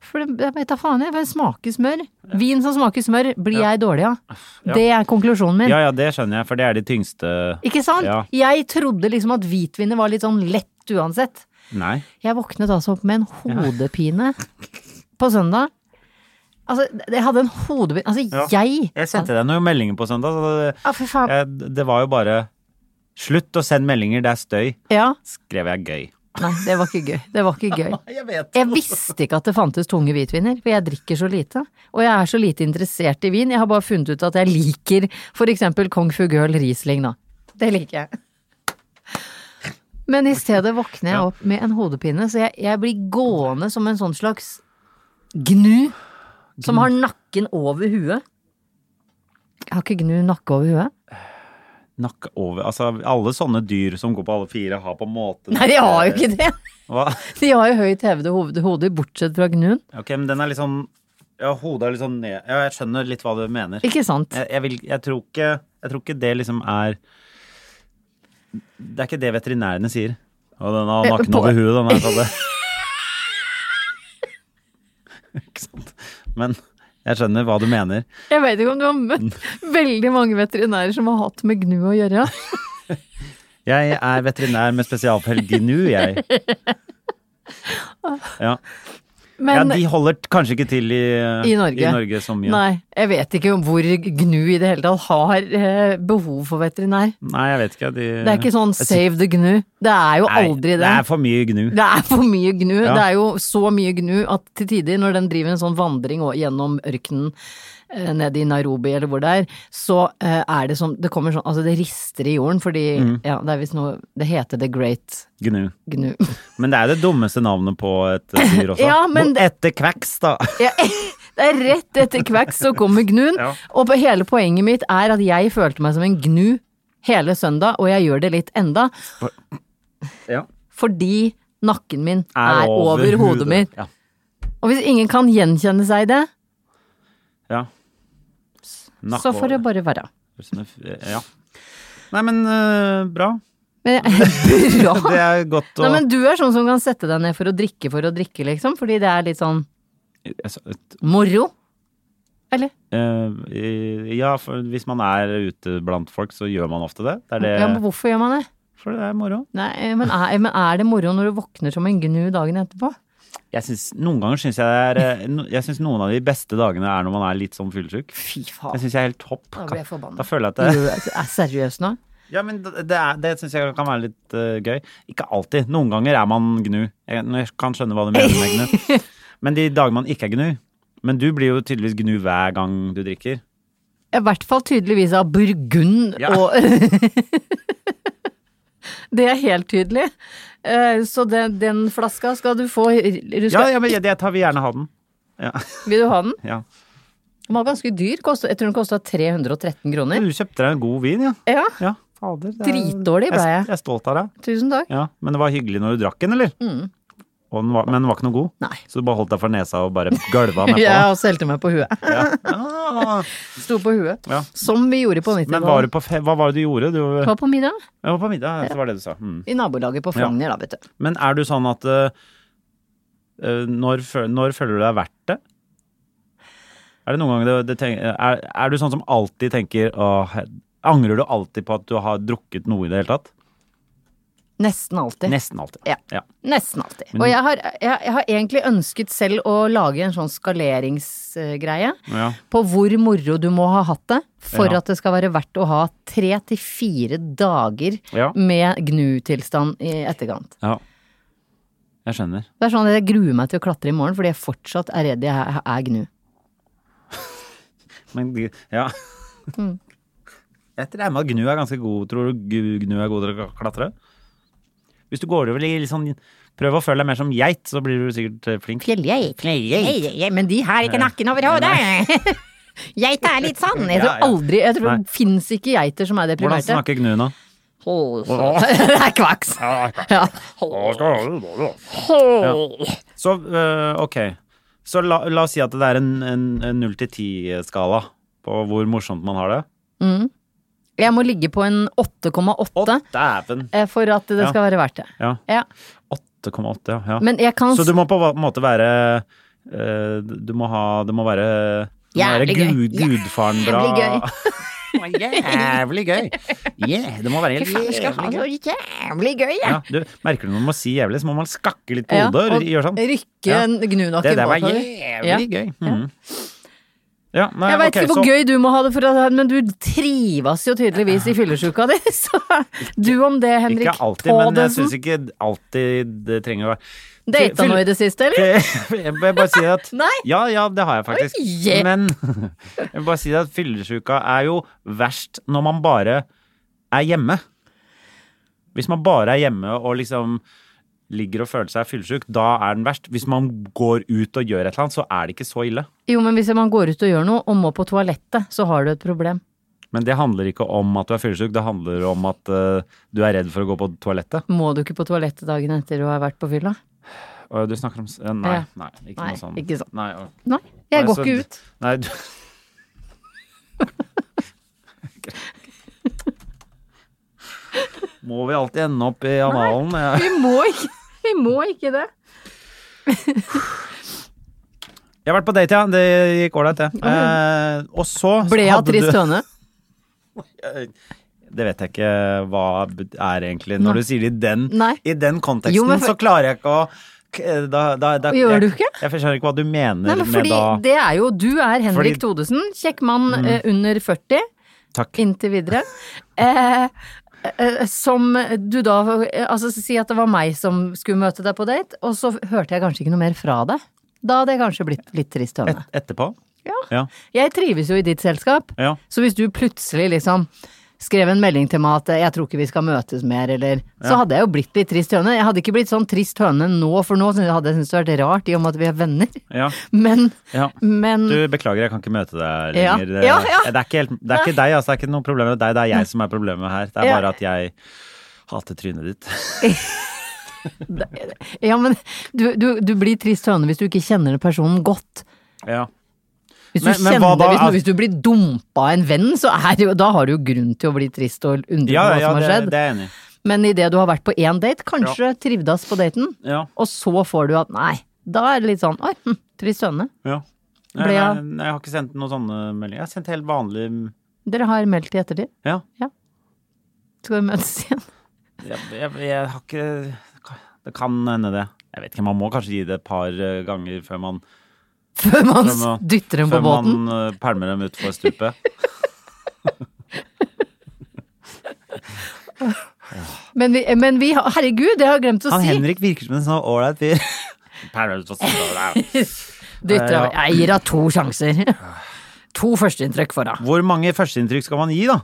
Speaker 1: For det, jeg vet da faen, jeg. Det smaker smør. Vin som smaker smør, blir jeg dårlig av.
Speaker 2: Ja.
Speaker 1: Det er konklusjonen min.
Speaker 2: Ja ja, det skjønner jeg, for det er de tyngste
Speaker 1: Ikke sant?
Speaker 2: Ja.
Speaker 1: Jeg trodde liksom at hvitviner var litt sånn lett uansett.
Speaker 2: Nei.
Speaker 1: Jeg våknet altså opp med en hodepine på søndag. Altså, jeg hadde en hodepine Altså,
Speaker 2: Ja.
Speaker 1: jeg
Speaker 2: Jeg sendte deg noen meldinger på søndag, så det,
Speaker 1: Ja, fy faen.
Speaker 2: jeg, det var jo bare Slutt å sende meldinger, det er støy,
Speaker 1: Ja.
Speaker 2: skrev jeg gøy.
Speaker 1: Nei, det var ikke gøy. Det var ikke gøy.
Speaker 2: Jeg vet.
Speaker 1: Jeg visste ikke at det fantes tunge hvitviner, for jeg drikker så lite. Og jeg er så lite interessert i vin, jeg har bare funnet ut at jeg liker for eksempel Kong Fugøl Riesling, da. Det liker jeg. Men i stedet våkner jeg opp med en hodepine, så jeg, jeg blir gående som en sånn slags gnu som har nakken over huet. Jeg har ikke gnu nakke over huet.
Speaker 2: Nakke over Altså, alle sånne dyr som går på alle fire, har på en måte
Speaker 1: Nei, de har jo ikke det!
Speaker 2: Hva?
Speaker 1: De har jo høyt hevede hoved- hoder, bortsett fra gnuen.
Speaker 2: Ok, men den er litt sånn Ja, hodet er litt sånn ned Ja, jeg skjønner litt hva du mener.
Speaker 1: Ikke sant?
Speaker 2: Jeg, jeg, vil, jeg, tror ikke, jeg tror ikke det liksom er Det er ikke det veterinærene sier. Og den har
Speaker 1: Eh,
Speaker 2: nakken
Speaker 1: på-
Speaker 2: over huet, den her, sa det. Ikke sant? Men jeg skjønner hva du mener.
Speaker 1: Jeg vet ikke om du har møtt veldig mange veterinærer som har hatt med gnu å gjøre.
Speaker 2: Jeg er veterinær med spesialpelg nå, jeg. Ja. ja,
Speaker 1: Men
Speaker 2: de holder t- kanskje ikke til i,
Speaker 1: i Norge.
Speaker 2: i Norge så mye.
Speaker 1: Nei, jeg vet ikke om hvor gnu i det hele tatt har eh, behov for veterinær.
Speaker 2: Nei, jeg vet ikke. De,
Speaker 1: Det er ikke sånn save the gnu. Det er jo aldri
Speaker 2: Det
Speaker 1: det.
Speaker 2: er for mye gnu.
Speaker 1: Det er for mye gnu.
Speaker 2: Ja.
Speaker 1: Det er jo så mye gnu at til tider når den driver en sånn vandring og- gjennom ørkenen eh, nede i Nairobi eller hvor det er, så eh, er det sånn Det kommer sånn Altså, det rister i jorden fordi
Speaker 2: Mm.
Speaker 1: Ja, det er visst noe Det heter The Great
Speaker 2: gnu.
Speaker 1: Gnu.
Speaker 2: Men det er det dummeste navnet på et eh, dyr også.
Speaker 1: Ja, men
Speaker 2: Bo-
Speaker 1: det-
Speaker 2: Etter kveks, da.
Speaker 1: Ja, det er rett etter kveks så kommer gnuen.
Speaker 2: Ja.
Speaker 1: Og på- hele poenget mitt er at jeg følte meg som en gnu hele søndag, og jeg gjør det litt enda, fordi nakken min er, over, hodet mitt.
Speaker 2: Ja.
Speaker 1: Og hvis ingen kan gjenkjenne seg i det,
Speaker 2: ja. Nakk
Speaker 1: så får det
Speaker 2: over.
Speaker 1: bare være.
Speaker 2: Ja. Nei, men eh, bra.
Speaker 1: Men jeg,
Speaker 2: Det
Speaker 1: bra!
Speaker 2: er godt å
Speaker 1: Nei, men du er sånn som kan sette deg ned for å drikke for å drikke, liksom, fordi det er litt sånn
Speaker 2: Jeg sa- et-
Speaker 1: moro. Eller?
Speaker 2: eh, Ja, for hvis man er ute blant folk, så gjør man ofte det. Det er
Speaker 1: Ja, men
Speaker 2: det
Speaker 1: hvorfor gjør man det?
Speaker 2: For det er moro.
Speaker 1: Nei, men er, men er det moro når du våkner som en gnu dagen etterpå?
Speaker 2: Jeg synes, noen ganger syns jeg det er eh, no- Jeg syns noen av de beste dagene er når man er litt sånn fyllesyk.
Speaker 1: Fy
Speaker 2: Jeg
Speaker 1: faen.
Speaker 2: syns jeg er helt topp.
Speaker 1: Da blir jeg forbanna.
Speaker 2: Da føler jeg at det
Speaker 1: Du er seriøs nå?
Speaker 2: Ja, men det, det er- det syns jeg kan være litt eh, gøy. Ikke alltid. Noen ganger er man gnu. Jeg, jeg kan skjønne hva du mener med gnu. Men de dager man ikke er gnu Men du blir jo tydeligvis gnu hver gang du drikker.
Speaker 1: I hvert fall tydeligvis av burgund
Speaker 2: Ja.
Speaker 1: og Det er helt tydelig. Eh, Så den, den flaska skal du få du
Speaker 2: Ja,
Speaker 1: skal,
Speaker 2: ja men jeg, jeg tar, vil gjerne ha den. Ja.
Speaker 1: Vil du ha den?
Speaker 2: ja.
Speaker 1: Den var ganske dyr. Kostet, jeg tror den kosta 313
Speaker 2: Men
Speaker 1: kroner.
Speaker 2: Du kjøpte deg en god vin, ja.
Speaker 1: Ja,
Speaker 2: ja. Fader. det er-
Speaker 1: Dritdårlig ble jeg.
Speaker 2: Jeg er stolt av deg.
Speaker 1: tusen takk.
Speaker 2: Ja, Men det var hyggelig når du drakk den, eller? Og den var, men den var ikke noe god?
Speaker 1: Mm. Nei.
Speaker 2: Så du bare holdt deg for nesa og bare gølva nedpå?
Speaker 1: Jeg også helte meg på huet.
Speaker 2: Ja. Ah.
Speaker 1: Sto på huet.
Speaker 2: Ja.
Speaker 1: Som vi gjorde på 90-tallet.
Speaker 2: Men var du på fe hva var det du gjorde? Du
Speaker 1: Det var på middag
Speaker 2: jeg var på middag, så var det du sa. Mm.
Speaker 1: i nabolaget på Frogner, da, vet du.
Speaker 2: Men er du sånn at eh, eh, når, fø- når føler du deg verdt det? Er det noen ganger det, det tenk, er, er du sånn som alltid tenker «Åh, her- Angrer du alltid på at du har drukket noe i det hele tatt?
Speaker 1: Nesten alltid.
Speaker 2: Nesten alltid.
Speaker 1: Ja.
Speaker 2: Ja.
Speaker 1: Nesten alltid. Og jeg har, jeg, jeg har egentlig ønsket selv å lage en sånn skaleringsgreie.
Speaker 2: Ja.
Speaker 1: På hvor moro du må ha hatt det for
Speaker 2: Ja.
Speaker 1: at det skal være verdt å ha tre til fire dager
Speaker 2: Ja.
Speaker 1: med gnutilstand i etterkant.
Speaker 2: ja. Jeg skjønner.
Speaker 1: Det er sånn at jeg gruer meg til å klatre i morgen fordi jeg fortsatt er redd jeg er- er gnu.
Speaker 2: Men de- ja. Jeg regner med at gnu er ganske god. Tror du gu- gnu er god til å klatre? Hvis du går over i litt sånn Prøv å føle deg mer som geit, så blir du sikkert eh, flink.
Speaker 1: Fjelljeit.
Speaker 2: Fjelljeit.
Speaker 1: Hei, hei, Men de har ikke nakken over hodet! Geita er litt sann. Jeg
Speaker 2: Ja,
Speaker 1: tror
Speaker 2: ja.
Speaker 1: aldri Jeg tror
Speaker 2: Nei.
Speaker 1: det fins ikke geiter som er
Speaker 2: Hvordan
Speaker 1: deprimerte.
Speaker 2: snakker gnu nå?
Speaker 1: Åh, så- Det er kvaks. Ja.
Speaker 2: Så øh, ok. Så la, la oss si at det er en, en, en 0-10-skala på hvor morsomt man har det.
Speaker 1: Mm. Jeg må ligge på en 8,8
Speaker 2: Dæven.
Speaker 1: eh, for at det
Speaker 2: Ja.
Speaker 1: skal være verdt det.
Speaker 2: Ja.
Speaker 1: Ja.
Speaker 2: 8,8, ja. ja.
Speaker 1: Men jeg kan
Speaker 2: Så du må på en måte være eh, Du må ha Det må være, du må være
Speaker 1: Jævlig gøy.
Speaker 2: gud, gudfaren bra.
Speaker 1: Jævlig gøy.
Speaker 2: Jævlig gøy. Yeah, det må være helt
Speaker 1: altså.
Speaker 2: jævlig gøy.
Speaker 1: jævlig gøy,
Speaker 2: Ja, du, merker du når man sier jævlig, så må man skakke litt på
Speaker 1: Ja,
Speaker 2: hodet og
Speaker 1: og
Speaker 2: gjøre sånn.
Speaker 1: rykke
Speaker 2: Ja.
Speaker 1: en gnunakken
Speaker 2: Det der var
Speaker 1: bakover. Ja.
Speaker 2: jævlig gøy. Mhm. Ja, nei,
Speaker 1: Jeg veit
Speaker 2: ok,
Speaker 1: ikke hvor
Speaker 2: så-
Speaker 1: gøy du må ha det, for at, men du trives jo tydeligvis i fyllesyka di. Så du om det, Henrik
Speaker 2: Ikke alltid, men jeg syns
Speaker 1: Taadensen.
Speaker 2: ikke alltid det trenger å være
Speaker 1: Data noe i det siste, eller?
Speaker 2: Jeg vil bare si at
Speaker 1: Nei.
Speaker 2: Ja, ja, det har jeg faktisk.
Speaker 1: Oi.
Speaker 2: Men jeg vil bare si at fyllesyka er jo verst når man bare er hjemme. Hvis man bare er hjemme og liksom ligger og føler seg fyllesyk, da er den verst. Hvis man går ut og gjør et eller annet, så er det ikke så ille.
Speaker 1: Jo, men hvis man går ut og gjør noe, og må på toalettet, så har du et problem.
Speaker 2: Men det handler ikke om at du er fyllesyk, det handler om at eh, du er redd for å gå på toalettet.
Speaker 1: Må du ikke på toalettet dagen etter du har vært på fylla?
Speaker 2: Og du snakker om s- eh, Nei,
Speaker 1: Ja.
Speaker 2: nei, ikke
Speaker 1: Nei,
Speaker 2: noe sånt.
Speaker 1: ikke sånn.
Speaker 2: Nei, og-
Speaker 1: Nei, jeg
Speaker 2: Nei,
Speaker 1: går
Speaker 2: så
Speaker 1: ikke
Speaker 2: d-
Speaker 1: ut.
Speaker 2: Nei, du... Må vi alltid ende opp i analen? Jeg,
Speaker 1: Vi må ikke, vi må ikke det.
Speaker 2: jeg har vært på date, ja. Det gikk ålreit, det. Eh, og så
Speaker 1: Ble jeg
Speaker 2: hadde
Speaker 1: trist
Speaker 2: du-
Speaker 1: høne?
Speaker 2: Det vet jeg ikke hva er egentlig. Når du sier det i den,
Speaker 1: Nei.
Speaker 2: i den konteksten,
Speaker 1: Jo, men for-
Speaker 2: så klarer jeg ikke å k- da, da, da,
Speaker 1: Gjør
Speaker 2: jeg,
Speaker 1: du ikke?
Speaker 2: Jeg skjønner ikke hva du mener
Speaker 1: Nei, men fordi
Speaker 2: med da
Speaker 1: det er jo Du er Henrik
Speaker 2: Fordi- Mm.
Speaker 1: Todesen, kjekk mann eh, under 40.
Speaker 2: Takk.
Speaker 1: Inntil videre. Eh, eh, som du da eh, Altså si at det var meg som skulle møte deg på date, og så hørte jeg kanskje ikke noe mer fra deg. Da hadde jeg kanskje blitt litt trist høne.
Speaker 2: Et, etterpå?
Speaker 1: Ja.
Speaker 2: Ja.
Speaker 1: Jeg trives jo i ditt selskap,
Speaker 2: Ja.
Speaker 1: så hvis du plutselig liksom skrev en melding til meg at eh, jeg tror ikke vi skal møtes mer, eller Så hadde jeg jo blitt litt trist høne. Jeg hadde ikke blitt sånn trist høne nå, for nå hadde jeg syntes det hadde vært rart i og med at vi er venner.
Speaker 2: ja.
Speaker 1: Men,
Speaker 2: ja.
Speaker 1: men
Speaker 2: Du, beklager, jeg kan ikke møte deg
Speaker 1: Ja.
Speaker 2: lenger. Det-
Speaker 1: Ja, ja.
Speaker 2: Det, er ikke helt, det er ikke deg, altså. Det er ikke noe problem med deg. Det er jeg som er problemet her. Det er
Speaker 1: Ja.
Speaker 2: bare at jeg hater trynet ditt.
Speaker 1: Ja, men du, du, du blir trist høne hvis du ikke kjenner personen godt.
Speaker 2: Ja.
Speaker 1: Hvis du,
Speaker 2: Men- men hva
Speaker 1: kjenner,
Speaker 2: da?
Speaker 1: hvis, noe- hvis du blir dumpa av en venn, så er det jo, da har du jo grunn til å bli trist og undre
Speaker 2: Ja,
Speaker 1: på hva
Speaker 2: ja,
Speaker 1: som har
Speaker 2: det,
Speaker 1: skjedd.
Speaker 2: det er jeg enig i.
Speaker 1: Men idet du har vært på én date, kanskje trivdes på daten,
Speaker 2: Ja.
Speaker 1: og så får du at nei, da er det litt sånn oi, hm, trist høne.
Speaker 2: ja.
Speaker 1: Ble
Speaker 2: Nei,
Speaker 1: jeg-
Speaker 2: nei, nei, jeg har ikke sendt noen sånne meldinger. Jeg har sendt helt vanlig
Speaker 1: Dere har meldt i ettertid.
Speaker 2: Ja.
Speaker 1: Skal vi møtes igjen?
Speaker 2: Jeg, jeg, jeg har ikke Det kan hende, det. Jeg vet ikke, Man må kanskje gi det et par eh, ganger før man,
Speaker 1: Før man
Speaker 2: Før man-
Speaker 1: dytter dem på
Speaker 2: før
Speaker 1: båten.
Speaker 2: man eh, pælmer dem utfor stupet.
Speaker 1: Men, vi, men vi har Herregud, det har jeg glemt å
Speaker 2: Han
Speaker 1: si!
Speaker 2: Henrik virker som en sånn ålreit fyr. Pælmer dem utfor stupet, ja.
Speaker 1: Dytter,
Speaker 2: Ja,
Speaker 1: Jeg gir henne to sjanser. To førsteinntrykk for henne.
Speaker 2: Hvor mange førsteinntrykk skal man gi, da?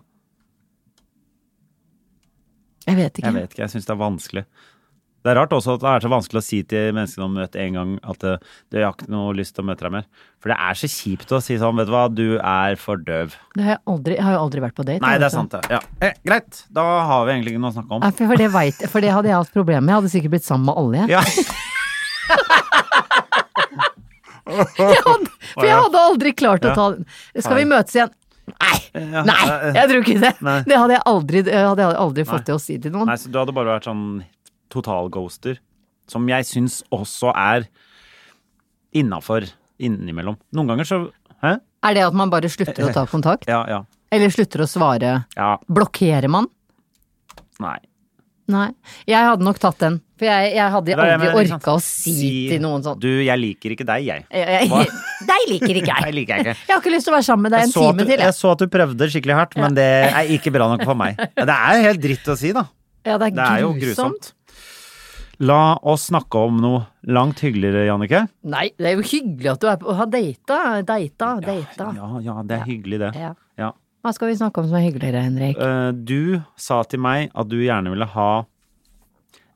Speaker 1: Jeg vet ikke.
Speaker 2: Jeg vet ikke, jeg syns det er vanskelig. Det er rart også at det er så vanskelig å si til menneskene man møter en gang at eh, du jeg har ikke noe lyst til å møte deg mer. For det er så kjipt å si sånn, vet du hva, du er for døv.
Speaker 1: Det har jeg, aldri, jeg Ah, har jo aldri vært på date.
Speaker 2: Nei, det er
Speaker 1: altså.
Speaker 2: sant det. Ja. Eh, greit, da har vi egentlig ikke noe å snakke om.
Speaker 1: Nei, for, for, det vet, for det hadde jeg hatt problemer med. Jeg hadde sikkert blitt sammen med alle. Jeg.
Speaker 2: Ja.
Speaker 1: Jeg hadde, for jeg hadde aldri klart å ta Skal vi møtes igjen? Nei!
Speaker 2: Ja.
Speaker 1: Nei, jeg tror ikke det.
Speaker 2: Nei.
Speaker 1: Det hadde jeg aldri, det hadde jeg aldri fått til å si til noen.
Speaker 2: Nei, så du hadde bare vært sånn totalghoster, som jeg syns også er innafor innimellom. Noen ganger så Hæ?
Speaker 1: Er det at man bare slutter å ta kontakt?
Speaker 2: Ja, ja.
Speaker 1: Eller slutter å svare?
Speaker 2: Ja,
Speaker 1: Blokkerer man?
Speaker 2: nei.
Speaker 1: Nei. Jeg hadde nok tatt den. For jeg, jeg hadde
Speaker 2: Det er det jeg
Speaker 1: aldri
Speaker 2: mener, ikke sant?
Speaker 1: orka å si til noen sånn.
Speaker 2: Du, jeg liker ikke deg, jeg.
Speaker 1: Jeg, jeg, deg liker ikke
Speaker 2: Jeg
Speaker 1: jeg.
Speaker 2: liker jeg ikke.
Speaker 1: Jeg har ikke lyst til å være sammen med deg
Speaker 2: Jeg
Speaker 1: en
Speaker 2: så, at
Speaker 1: time
Speaker 2: du,
Speaker 1: til.
Speaker 2: jeg
Speaker 1: Jeg.
Speaker 2: så at du prøvde skikkelig hardt, men det er ikke bra nok for meg. Ja, Det er helt dritt å si, da.
Speaker 1: Ja, det
Speaker 2: Det er
Speaker 1: er
Speaker 2: jo
Speaker 1: grusomt.
Speaker 2: grusomt. La oss snakke om noe langt hyggeligere, Jannicke.
Speaker 1: Nei, det er jo hyggelig at du er på, har data, data, data.
Speaker 2: Ja, ja, det er hyggelig, det.
Speaker 1: Ja.
Speaker 2: Ja.
Speaker 1: Hva skal vi snakke om som er hyggeligere, Henrik?
Speaker 2: Eh, Du sa til meg at du gjerne ville ha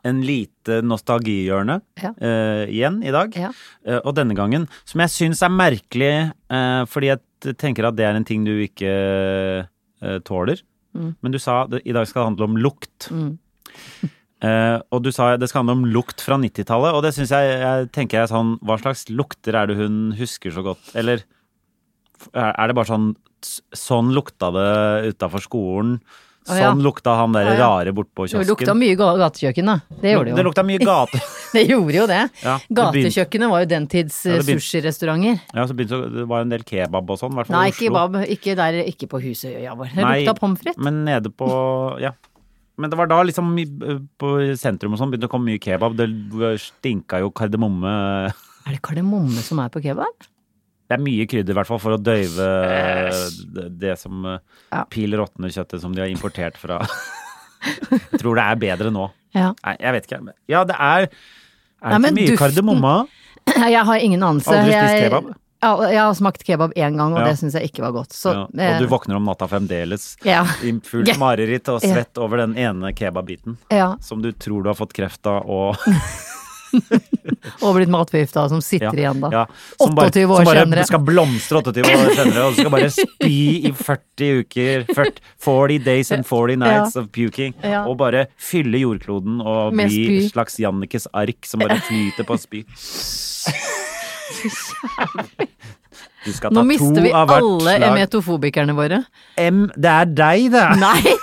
Speaker 2: en lite nostalgihjørne
Speaker 1: Ja.
Speaker 2: eh, igjen i dag.
Speaker 1: Ja.
Speaker 2: Eh, og denne gangen, som jeg syns er merkelig, eh, fordi jeg t- tenker at det er en ting du ikke eh, tåler. Men du sa at i dag skal det handle om lukt.
Speaker 1: Mm.
Speaker 2: Eh, og du sa det skal handle om lukt fra 90-tallet, og det syns jeg, jeg tenker jeg sånn Hva slags lukter er det hun husker så godt? Eller er er det bare sånn s- Sånn lukta det utafor skolen.
Speaker 1: Å, ja.
Speaker 2: Sånn lukta han der
Speaker 1: Å, ja.
Speaker 2: rare bortpå
Speaker 1: Det
Speaker 2: kiosken.
Speaker 1: lukta mye ga- gatekjøkken, da. Det gjorde det jo.
Speaker 2: Det lukta mye gate.
Speaker 1: Det gjorde jo det.
Speaker 2: Ja, det begynte-
Speaker 1: Gatekjøkkenet var jo den tids
Speaker 2: Ja,
Speaker 1: eh,
Speaker 2: det begynte-
Speaker 1: sushirestauranter.
Speaker 2: Ja, så begynte så- det var en del kebab og sånn, i hvert fall
Speaker 1: Nei,
Speaker 2: i
Speaker 1: ikke,
Speaker 2: Oslo.
Speaker 1: bab, ikke der, ikke på Husøya vår. Det
Speaker 2: Nei,
Speaker 1: lukta pommes frites.
Speaker 2: Men nede på Ja. Men det var da liksom i- på sentrum og sånn begynte det å komme mye kebab. Det stinka jo kardemomme
Speaker 1: Er det kardemomme som er på kebab?
Speaker 2: Det er mye krydder i hvert fall for å døyve det- det som eh,
Speaker 1: Ja.
Speaker 2: Pil råtne kjøttet som de har importert fra Jeg tror det er bedre nå.
Speaker 1: Ja.
Speaker 2: Nei, jeg vet ikke. men- Ja, det er Er
Speaker 1: Nei,
Speaker 2: det
Speaker 1: men
Speaker 2: ikke mye
Speaker 1: duften-
Speaker 2: kardemomme?
Speaker 1: Jeg har ingen anelse.
Speaker 2: Aldri spist
Speaker 1: Jeg-
Speaker 2: kebab?
Speaker 1: Ja, og jeg har smakt kebab én gang, og
Speaker 2: Ja.
Speaker 1: det syns jeg ikke var godt. Så,
Speaker 2: Ja. Og du
Speaker 1: eh,
Speaker 2: våkner om natta fremdeles
Speaker 1: Ja.
Speaker 2: i fullt
Speaker 1: Ja.
Speaker 2: mareritt og
Speaker 1: Ja.
Speaker 2: svett over den ene kebabbiten
Speaker 1: ja,
Speaker 2: som du tror du har fått kreft av og
Speaker 1: og blitt matforgifta, som sitter
Speaker 2: ja,
Speaker 1: igjen da.
Speaker 2: ja, som bare-
Speaker 1: 28 år
Speaker 2: som bare
Speaker 1: senere.
Speaker 2: skal blomstre 28 år senere, og du skal bare spy i 40 uker. 40, 40 days and 40 nights of puking.
Speaker 1: Ja.
Speaker 2: Og bare fylle jordkloden og
Speaker 1: Med
Speaker 2: bli
Speaker 1: spy.
Speaker 2: et slags Jannikes ark som bare flyter på spy. Du skal ta
Speaker 1: Nå mister vi
Speaker 2: to av hvert
Speaker 1: alle
Speaker 2: slag.
Speaker 1: emetofobikerne våre.
Speaker 2: M, det er deg, det!
Speaker 1: Nei!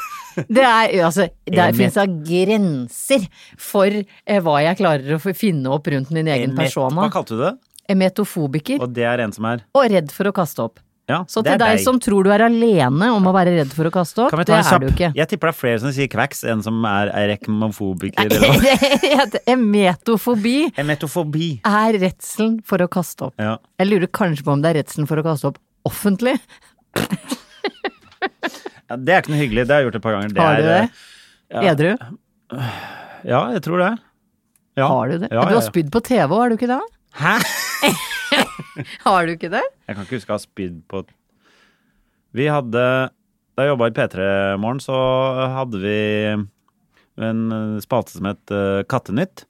Speaker 1: Det er altså Det
Speaker 2: Emet-
Speaker 1: fins da grenser for eh, hva jeg klarer å f- finne opp rundt min egen
Speaker 2: Emet-
Speaker 1: persona.
Speaker 2: Hva kalte du det?
Speaker 1: Emetofobiker
Speaker 2: Og det er en som er
Speaker 1: og redd for å kaste opp.
Speaker 2: Ja,
Speaker 1: Så
Speaker 2: det
Speaker 1: til
Speaker 2: er
Speaker 1: deg som tror du er alene om å være redd for å kaste opp,
Speaker 2: Kan vi
Speaker 1: det
Speaker 2: ta en
Speaker 1: er du
Speaker 2: kjapp?
Speaker 1: ikke.
Speaker 2: Jeg tipper det er flere som sier kveks enn som er erekmofobiker. eller hva?
Speaker 1: Det heter Emetofobi
Speaker 2: Emetofobi.
Speaker 1: er redselen for å kaste opp.
Speaker 2: Ja.
Speaker 1: Jeg lurer kanskje på om det er redselen for å kaste opp offentlig.
Speaker 2: Ja, Det er ikke noe hyggelig. Det har jeg gjort et par ganger.
Speaker 1: Har du
Speaker 2: er,
Speaker 1: det? Edru?
Speaker 2: eh, Ja, jeg tror det. Ja.
Speaker 1: Har du det?
Speaker 2: Ja,
Speaker 1: Du
Speaker 2: ja,
Speaker 1: har
Speaker 2: ja.
Speaker 1: spydd på TV, har du ikke det?
Speaker 2: Hæ?
Speaker 1: Har du ikke det?
Speaker 2: Jeg kan ikke huske å ha spydd på Vi hadde Da jeg jobba i P3 Morgen, så hadde vi en spalte som het eh, Kattenytt.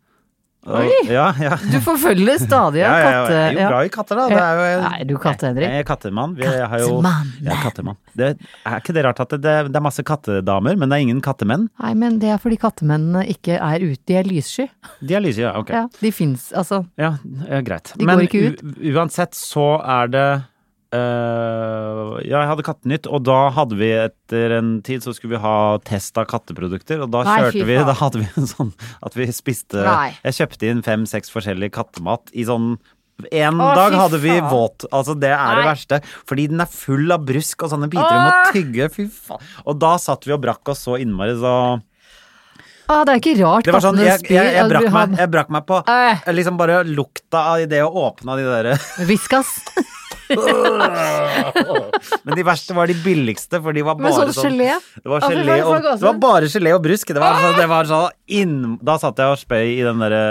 Speaker 2: Og-
Speaker 1: Oi!
Speaker 2: Ja, ja.
Speaker 1: Du forfølger stadig
Speaker 2: Ja,
Speaker 1: av
Speaker 2: ja, ja.
Speaker 1: katte...
Speaker 2: Jeg er jo glad i katter, da. Det er jo
Speaker 1: Nei, du katte-Henrik.
Speaker 2: Jeg er kattemann. Vi har jo,
Speaker 1: Kattemann.
Speaker 2: jeg er kattemann. Det er ikke det rart at det, det er masse kattedamer, men det er ingen kattemenn.
Speaker 1: Nei, men det er fordi kattemennene ikke er ute, de er lyssky.
Speaker 2: De er lyse, ja. Ok.
Speaker 1: Ja, de fins, altså.
Speaker 2: Ja, ja greit.
Speaker 1: De
Speaker 2: Men
Speaker 1: går ikke ut.
Speaker 2: u- uansett så er det øh, Ja, jeg hadde Kattenytt, og da hadde vi etter en tid så skulle vi ha test av katteprodukter, og da
Speaker 1: Nei, fy
Speaker 2: kjørte vi
Speaker 1: faen.
Speaker 2: Da hadde vi en sånn at vi spiste
Speaker 1: Nei.
Speaker 2: Jeg kjøpte inn fem-seks forskjellige kattemat i sånn en
Speaker 1: Å,
Speaker 2: dag
Speaker 1: fy
Speaker 2: hadde vi
Speaker 1: faen.
Speaker 2: våt. Altså, det er det
Speaker 1: Nei.
Speaker 2: verste. Fordi den er full av brusk og sånne biter du må tygge. Fy faen. Og da satt vi og brakk oss så innmari, så
Speaker 1: Ah, det er ikke rart altså,
Speaker 2: det var sånn,
Speaker 1: kattene
Speaker 2: jeg,
Speaker 1: spyr.
Speaker 2: jeg, jeg,
Speaker 1: eller
Speaker 2: brakk,
Speaker 1: har-
Speaker 2: meg, jeg brakk meg på
Speaker 1: Øh.
Speaker 2: liksom bare lukta av det å åpne av de derre
Speaker 1: Viskas.
Speaker 2: Men de verste var de billigste, for de var
Speaker 1: Men
Speaker 2: bare
Speaker 1: sånn
Speaker 2: sånn,
Speaker 1: gelé?
Speaker 2: Det var,
Speaker 1: Å, fy faen, Ah!
Speaker 2: gelé
Speaker 1: jeg får
Speaker 2: og,
Speaker 1: gåsehud.
Speaker 2: det var bare gelé og brusk. Det var, sånn- det var sånn inn... Da satt jeg og spøy i den derre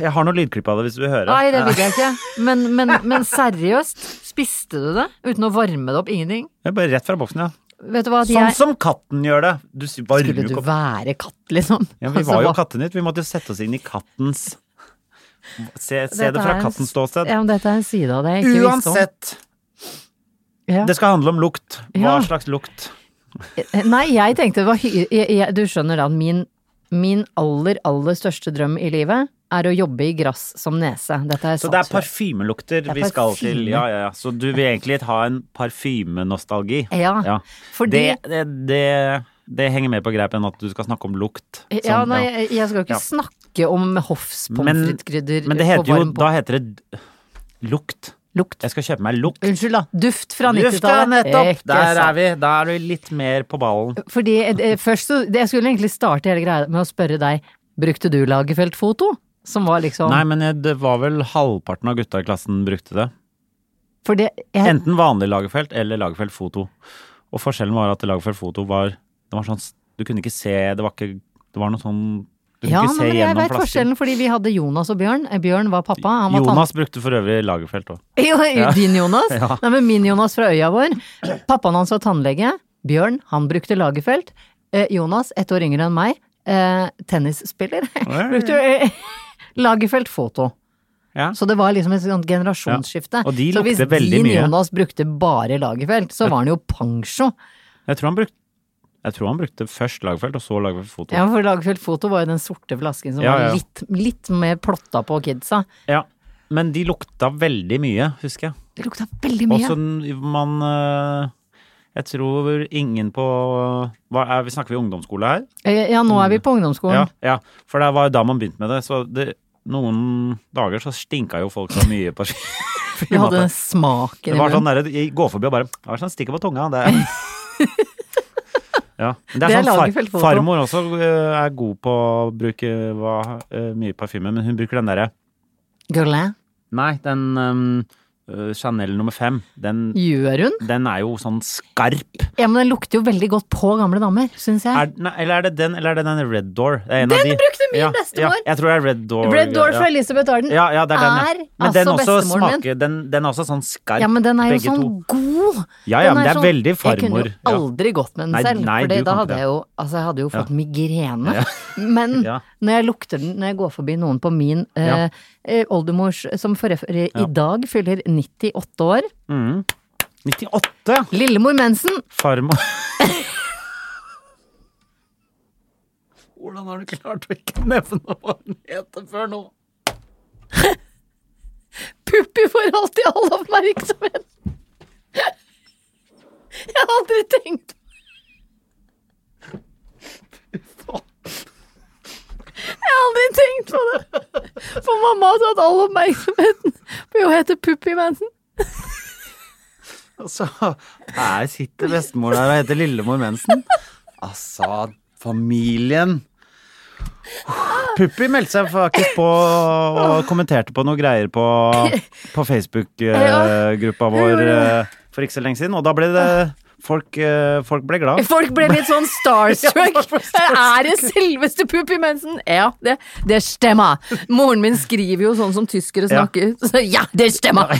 Speaker 2: Jeg har noe lydklipp av det hvis du vil høre.
Speaker 1: Nei, det vil jeg ikke. Men, men, men seriøst, spiste du det uten å varme det opp? Ingenting?
Speaker 2: Jeg er bare rett fra boksen, ja.
Speaker 1: Vet du hva, at
Speaker 2: Sånn
Speaker 1: jeg
Speaker 2: som katten gjør det. Du s- varmer
Speaker 1: Skulle
Speaker 2: jo
Speaker 1: du
Speaker 2: ikke opp.
Speaker 1: være katt, liksom?
Speaker 2: Ja, vi
Speaker 1: Altså,
Speaker 2: var jo
Speaker 1: hva-
Speaker 2: Kattenytt. Vi måtte jo sette oss inn i kattens Se, se
Speaker 1: Dette
Speaker 2: det fra
Speaker 1: er en-
Speaker 2: kattens ståsted.
Speaker 1: Ja, men dette er en side av det jeg ikke
Speaker 2: Uansett,
Speaker 1: visste om.
Speaker 2: det skal handle om lukt. Hva
Speaker 1: Ja.
Speaker 2: slags lukt?
Speaker 1: Ja. Eh, Nei, jeg tenkte det var hy... jeg, jeg, Du skjønner da, min, min aller, aller største drøm i livet er å jobbe i grass som nese. Dette har jeg
Speaker 2: Så det er
Speaker 1: sagt før.
Speaker 2: parfymelukter
Speaker 1: er
Speaker 2: vi skal
Speaker 1: parfyme.
Speaker 2: til. Ja, ja, ja. Så du vil egentlig ha en parfymenostalgi.
Speaker 1: Ja, fordi-
Speaker 2: det, det, det, det henger mer på greip enn at du skal snakke om lukt.
Speaker 1: ja,
Speaker 2: Sånn,
Speaker 1: nei,
Speaker 2: ja.
Speaker 1: jeg, jeg skal ikke
Speaker 2: Ja.
Speaker 1: snakke om hoffs pommes frites-krydder
Speaker 2: men det
Speaker 1: på
Speaker 2: heter jo,
Speaker 1: varm på-
Speaker 2: da heter det d- lukt.
Speaker 1: Lukt.
Speaker 2: Jeg skal kjøpe meg lukt.
Speaker 1: Unnskyld, da. Duft fra
Speaker 2: Luft, ja,
Speaker 1: 90-tallet.
Speaker 2: nettopp!
Speaker 1: Ikke
Speaker 2: Der
Speaker 1: sant.
Speaker 2: er vi. Da er du litt mer på ballen.
Speaker 1: Fordi eh, først så det- Jeg skulle egentlig starte hele greia med å spørre deg Brukte du Lagerfeldt-foto? Som var liksom
Speaker 2: Nei, men jeg- det var vel halvparten av gutta i klassen brukte det.
Speaker 1: For det jeg,
Speaker 2: Enten vanlig Lagerfeld eller Lagerfeld Foto. Og forskjellen var at Lagerfeld Foto var Det var sånn Du kunne ikke se Det var ikke Det var noe sånn Du kunne
Speaker 1: Ja,
Speaker 2: ikke se
Speaker 1: men jeg
Speaker 2: gjennom
Speaker 1: vet
Speaker 2: flasken.
Speaker 1: forskjellen, fordi vi hadde Jonas og Bjørn. Eh, Bjørn var pappa, han var
Speaker 2: Jonas brukte for øvrig Lagerfeld òg.
Speaker 1: Jo, Din Jonas?
Speaker 2: Ja.
Speaker 1: Nei, men min Jonas fra øya vår. Pappaen hans var tannlege. Bjørn, han brukte Lagerfeld. Eh, Jonas, ett år yngre enn meg, eh, tennisspiller. brukte eh, Lagerfeld foto.
Speaker 2: Ja.
Speaker 1: Så det var liksom et sånt generasjonsskifte.
Speaker 2: Ja, og de
Speaker 1: så hvis
Speaker 2: lukter veldig
Speaker 1: din
Speaker 2: mye.
Speaker 1: Jonas brukte bare Lagerfeld, så var han jo pansjo.
Speaker 2: Jeg tror han brukte jeg tror han brukte først Lagerfeld, og så Lagerfeld Foto.
Speaker 1: Ja, for Lagerfeld foto var jo den sorte flasken som
Speaker 2: Ja, ja.
Speaker 1: var litt, litt mer plotta på kidsa.
Speaker 2: Ja. Men de lukta veldig mye, husker jeg.
Speaker 1: Det lukta veldig mye.
Speaker 2: Og så n- man eh, Jeg tror ingen på hva er, vi Snakker vi ungdomsskole her?
Speaker 1: Eh, Ja, nå er vi på ungdomsskolen.
Speaker 2: Mm. Ja, ja, for det var jo da man begynte med det. Så det, noen dager så stinka jo folk så mye på
Speaker 1: Vi hadde
Speaker 2: frimatte.
Speaker 1: smaken
Speaker 2: Det
Speaker 1: i
Speaker 2: var sånn
Speaker 1: munnen.
Speaker 2: derre Jeg går forbi og bare Det er sånn stikker på tunga. Det er Ja. Men det er
Speaker 1: Det er
Speaker 2: sånn far,
Speaker 1: Lagerfeld på.
Speaker 2: farmor også eh, er god på å bruke hva, eh, mye parfyme, men hun bruker den derre sånn-
Speaker 1: Guerlain.
Speaker 2: Nei, den ehm, eh, Chanel nummer fem. Den,
Speaker 1: Gjør hun?
Speaker 2: den er jo sånn skarp.
Speaker 1: Ja, men den lukter jo veldig godt på gamle damer, syns jeg.
Speaker 2: Er, nei, eller er det den, eller er det den Red Door? Det er en av
Speaker 1: Den
Speaker 2: de.
Speaker 1: brukte min
Speaker 2: ja,
Speaker 1: bestemor!
Speaker 2: Ja, jeg tror det er Red Door.
Speaker 1: Red Door
Speaker 2: ja.
Speaker 1: fra Elisabeth Arden
Speaker 2: Ja, ja, det er, den.
Speaker 1: er
Speaker 2: ja. Men den
Speaker 1: altså
Speaker 2: også
Speaker 1: bestemoren min.
Speaker 2: smaker den, den er også sånn skarp,
Speaker 1: Ja, men den er jo
Speaker 2: begge
Speaker 1: sånn
Speaker 2: to.
Speaker 1: god.
Speaker 2: Ja, ja,
Speaker 1: Den
Speaker 2: men det er
Speaker 1: sånn-
Speaker 2: veldig
Speaker 1: Jeg kunne
Speaker 2: farmor.
Speaker 1: jo aldri gått med den
Speaker 2: Nei,
Speaker 1: selv,
Speaker 2: nei,
Speaker 1: for
Speaker 2: du
Speaker 1: da
Speaker 2: kan ikke
Speaker 1: hadde
Speaker 2: det.
Speaker 1: jeg jo Altså, jeg hadde jo fått migrene.
Speaker 2: Ja.
Speaker 1: Men
Speaker 2: Ja.
Speaker 1: når jeg lukter den når jeg går forbi noen på min eh,
Speaker 2: Ja.
Speaker 1: eh, oldemors, som for øvrig i dag fyller 98 år,
Speaker 2: Mm. 98, ja.
Speaker 1: lillemor Mensen,
Speaker 2: Farmor. Hvordan har du klart å ikke nevne hva den heter før nå?
Speaker 1: Puppi får alltid all oppmerksomhet. Jeg har aldri tenkt Jeg har aldri tenkt på det. For mamma har tatt all oppmerksomheten på å hete Puppi Manson.
Speaker 2: Altså, her sitter bestemor der og heter Lillemor Mensen. Altså, familien Puppi meldte seg faktisk på og kommenterte på noen greier på, på Facebook-gruppa vår eh, for ikke så lenge siden, og da ble det Folk, eh, folk ble glad.
Speaker 1: Folk ble litt sånn starstruck. Er det selveste Puppi Manson? Ja, det, det stemmer. Moren min skriver jo sånn som tyskere
Speaker 2: Ja.
Speaker 1: snakker. Så ja, det stemmer.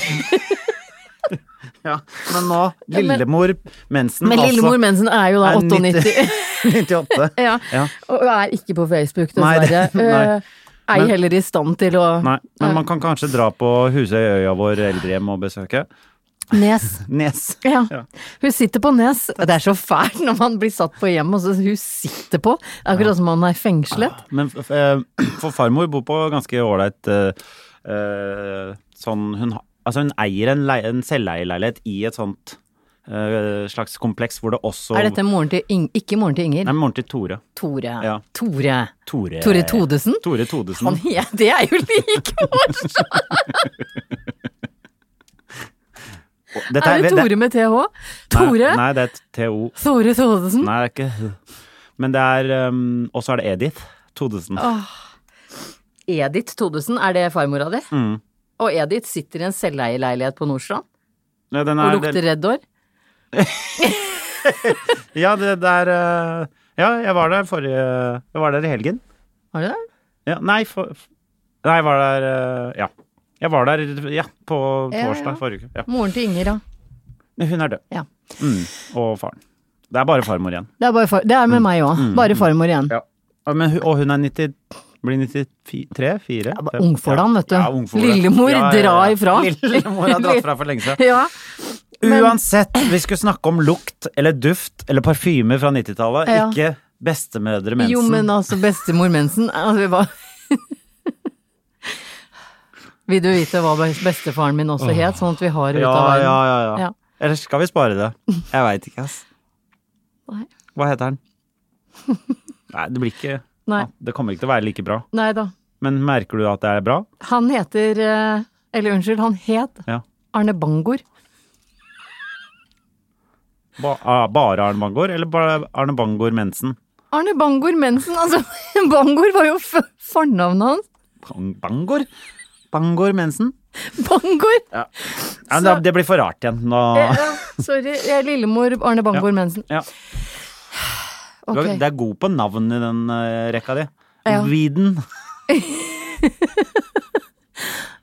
Speaker 2: Ja, men nå, Lillemor Mensen,
Speaker 1: Men lillemor Mensen er jo da
Speaker 2: altså, er
Speaker 1: 98.
Speaker 2: 98.
Speaker 1: Ja.
Speaker 2: Ja.
Speaker 1: Og er ikke på Facebook,
Speaker 2: Nei, det-
Speaker 1: dessverre.
Speaker 2: nei.
Speaker 1: Eh, Ei
Speaker 2: Men-
Speaker 1: heller i stand til å
Speaker 2: Nei, men man kan kanskje dra på Husøyøya vår eldrehjem og besøke.
Speaker 1: Nes.
Speaker 2: Nes.
Speaker 1: Ja.
Speaker 2: Ja.
Speaker 1: Hun sitter på Nes. Det er så fælt når man blir satt på hjem, og så hun sitter på. Det er Akkurat som om man er fengslet.
Speaker 2: Men f- f- eh, for farmor bor på ganske ålreit eh, eh, sånn hun, ha- altså hun eier en, lei- en selveierleilighet i et sånt eh, slags kompleks hvor det også
Speaker 1: Er dette moren til Ing Ikke moren til Inger.
Speaker 2: Nei, moren til Tore.
Speaker 1: Tore.
Speaker 2: Ja.
Speaker 1: Tore.
Speaker 2: Tore,
Speaker 1: Tore Todesen?
Speaker 2: Tore Todesen.
Speaker 1: Han, ja, det er jo like morsomt!
Speaker 2: Dette
Speaker 1: Er det
Speaker 2: det-
Speaker 1: Tore med TH? Tore?
Speaker 2: Nei, nei, det er TO.
Speaker 1: Tore Todesen?
Speaker 2: Nei, det er ikke Men det er um, Og så er det Edith Todesen.
Speaker 1: Edith Todesen, er det farmora di?
Speaker 2: Mm.
Speaker 1: Og Edith sitter i en selveierleilighet på Nordstrand
Speaker 2: Nei, den
Speaker 1: og
Speaker 2: er-
Speaker 1: lukter Red Door.
Speaker 2: Ja, det der eh, Ja, jeg var der forrige Jeg var der i helgen.
Speaker 1: Har du det?
Speaker 2: Ja, nei, for, nei, jeg var der eh, Ja. Jeg var der ja, på
Speaker 1: Ja,
Speaker 2: torsdag
Speaker 1: ja.
Speaker 2: forrige uke. Ja.
Speaker 1: Moren til Inger, ja.
Speaker 2: Men Hun er død.
Speaker 1: Ja.
Speaker 2: Mm, og faren. Det er bare farmor igjen.
Speaker 1: Det er, bare far, det er
Speaker 2: Mm.
Speaker 1: med meg òg. Bare farmor igjen.
Speaker 2: Ja, Men, hun- og hun er 90 blir 93? 4?
Speaker 1: bare ung for den, vet du.
Speaker 2: Ja, ung for den.
Speaker 1: Lillemor drar ifra.
Speaker 2: Lillemor har dratt fra for lenge siden.
Speaker 1: Ja. Men-
Speaker 2: Uansett, vi skulle snakke om lukt eller duft eller parfyme fra 90-tallet,
Speaker 1: Ja.
Speaker 2: ikke bestemødre mensen.
Speaker 1: Jo, men altså, bestemor Mensen altså, vi var... Vil du vite hva bestefaren min også het, sånn at vi har det ut
Speaker 2: ja,
Speaker 1: av verden?
Speaker 2: ja, ja, ja,
Speaker 1: Ja.
Speaker 2: Eller skal vi spare det? Jeg veit ikke, ass.
Speaker 1: Nei.
Speaker 2: Hva heter den? Nei, det blir ikke
Speaker 1: Nei.
Speaker 2: Ja, Det kommer ikke til å være like bra.
Speaker 1: Nei da.
Speaker 2: Men merker du at det er bra?
Speaker 1: Han heter eh, Eller unnskyld, han het
Speaker 2: Ja.
Speaker 1: Arne Bangor.
Speaker 2: Ba ah, bare Arne Bangor, eller bare Arne Bangor Mensen?
Speaker 1: Arne Bangor Mensen, altså Bangor var jo f fornavnet hans.
Speaker 2: Bang Bangor? Bangor Mensen?
Speaker 1: Bangor!
Speaker 2: Ja, men
Speaker 1: Så-
Speaker 2: da- det blir for rart igjen. Nå.
Speaker 1: Eh, sorry, jeg er lillemor Arne Bangor Mensen.
Speaker 2: Ah. Ja. Du er-
Speaker 1: Ok.
Speaker 2: Det er god på navn i den eh, rekka di.
Speaker 1: Ja.
Speaker 2: Weeden.